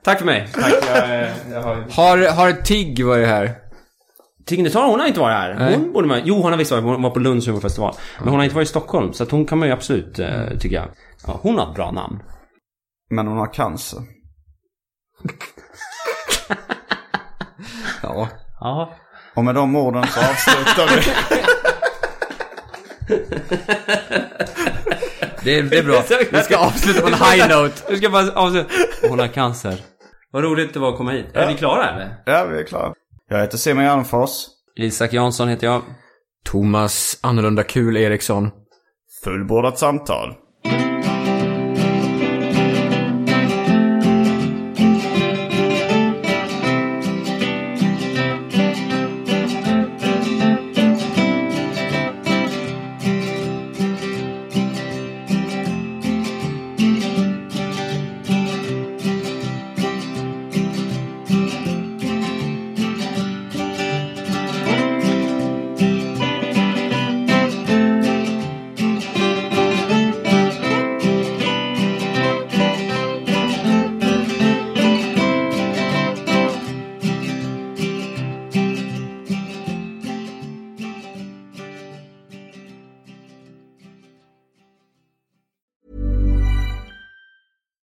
[SPEAKER 3] Tack för mig. Tack, jag, eh, jag har...
[SPEAKER 4] Har, har Tigg varit här?
[SPEAKER 3] Tignetar, hon har inte varit här.
[SPEAKER 4] Nej.
[SPEAKER 3] Hon borde man... Jo, hon har visst varit. Hon var på Lunds humorfestival. Men hon har inte varit i Stockholm. Så att hon kan man ju absolut, eh, tycker jag. Ja, hon har ett bra namn.
[SPEAKER 2] Men hon har cancer.
[SPEAKER 4] Ja.
[SPEAKER 3] Ja.
[SPEAKER 2] Och med de orden så avslutar vi.
[SPEAKER 4] Det är, det är bra. Vi ska avsluta på en high note.
[SPEAKER 3] Jag ska bara avsluta. Hon har cancer. Vad roligt det var att komma hit. Är vi klara eller?
[SPEAKER 2] Ja, vi är klara. Jag heter Simon Gärdenfors.
[SPEAKER 3] Isak Jansson heter jag.
[SPEAKER 4] Thomas Annorlunda Kul Eriksson.
[SPEAKER 2] Fullbordat samtal.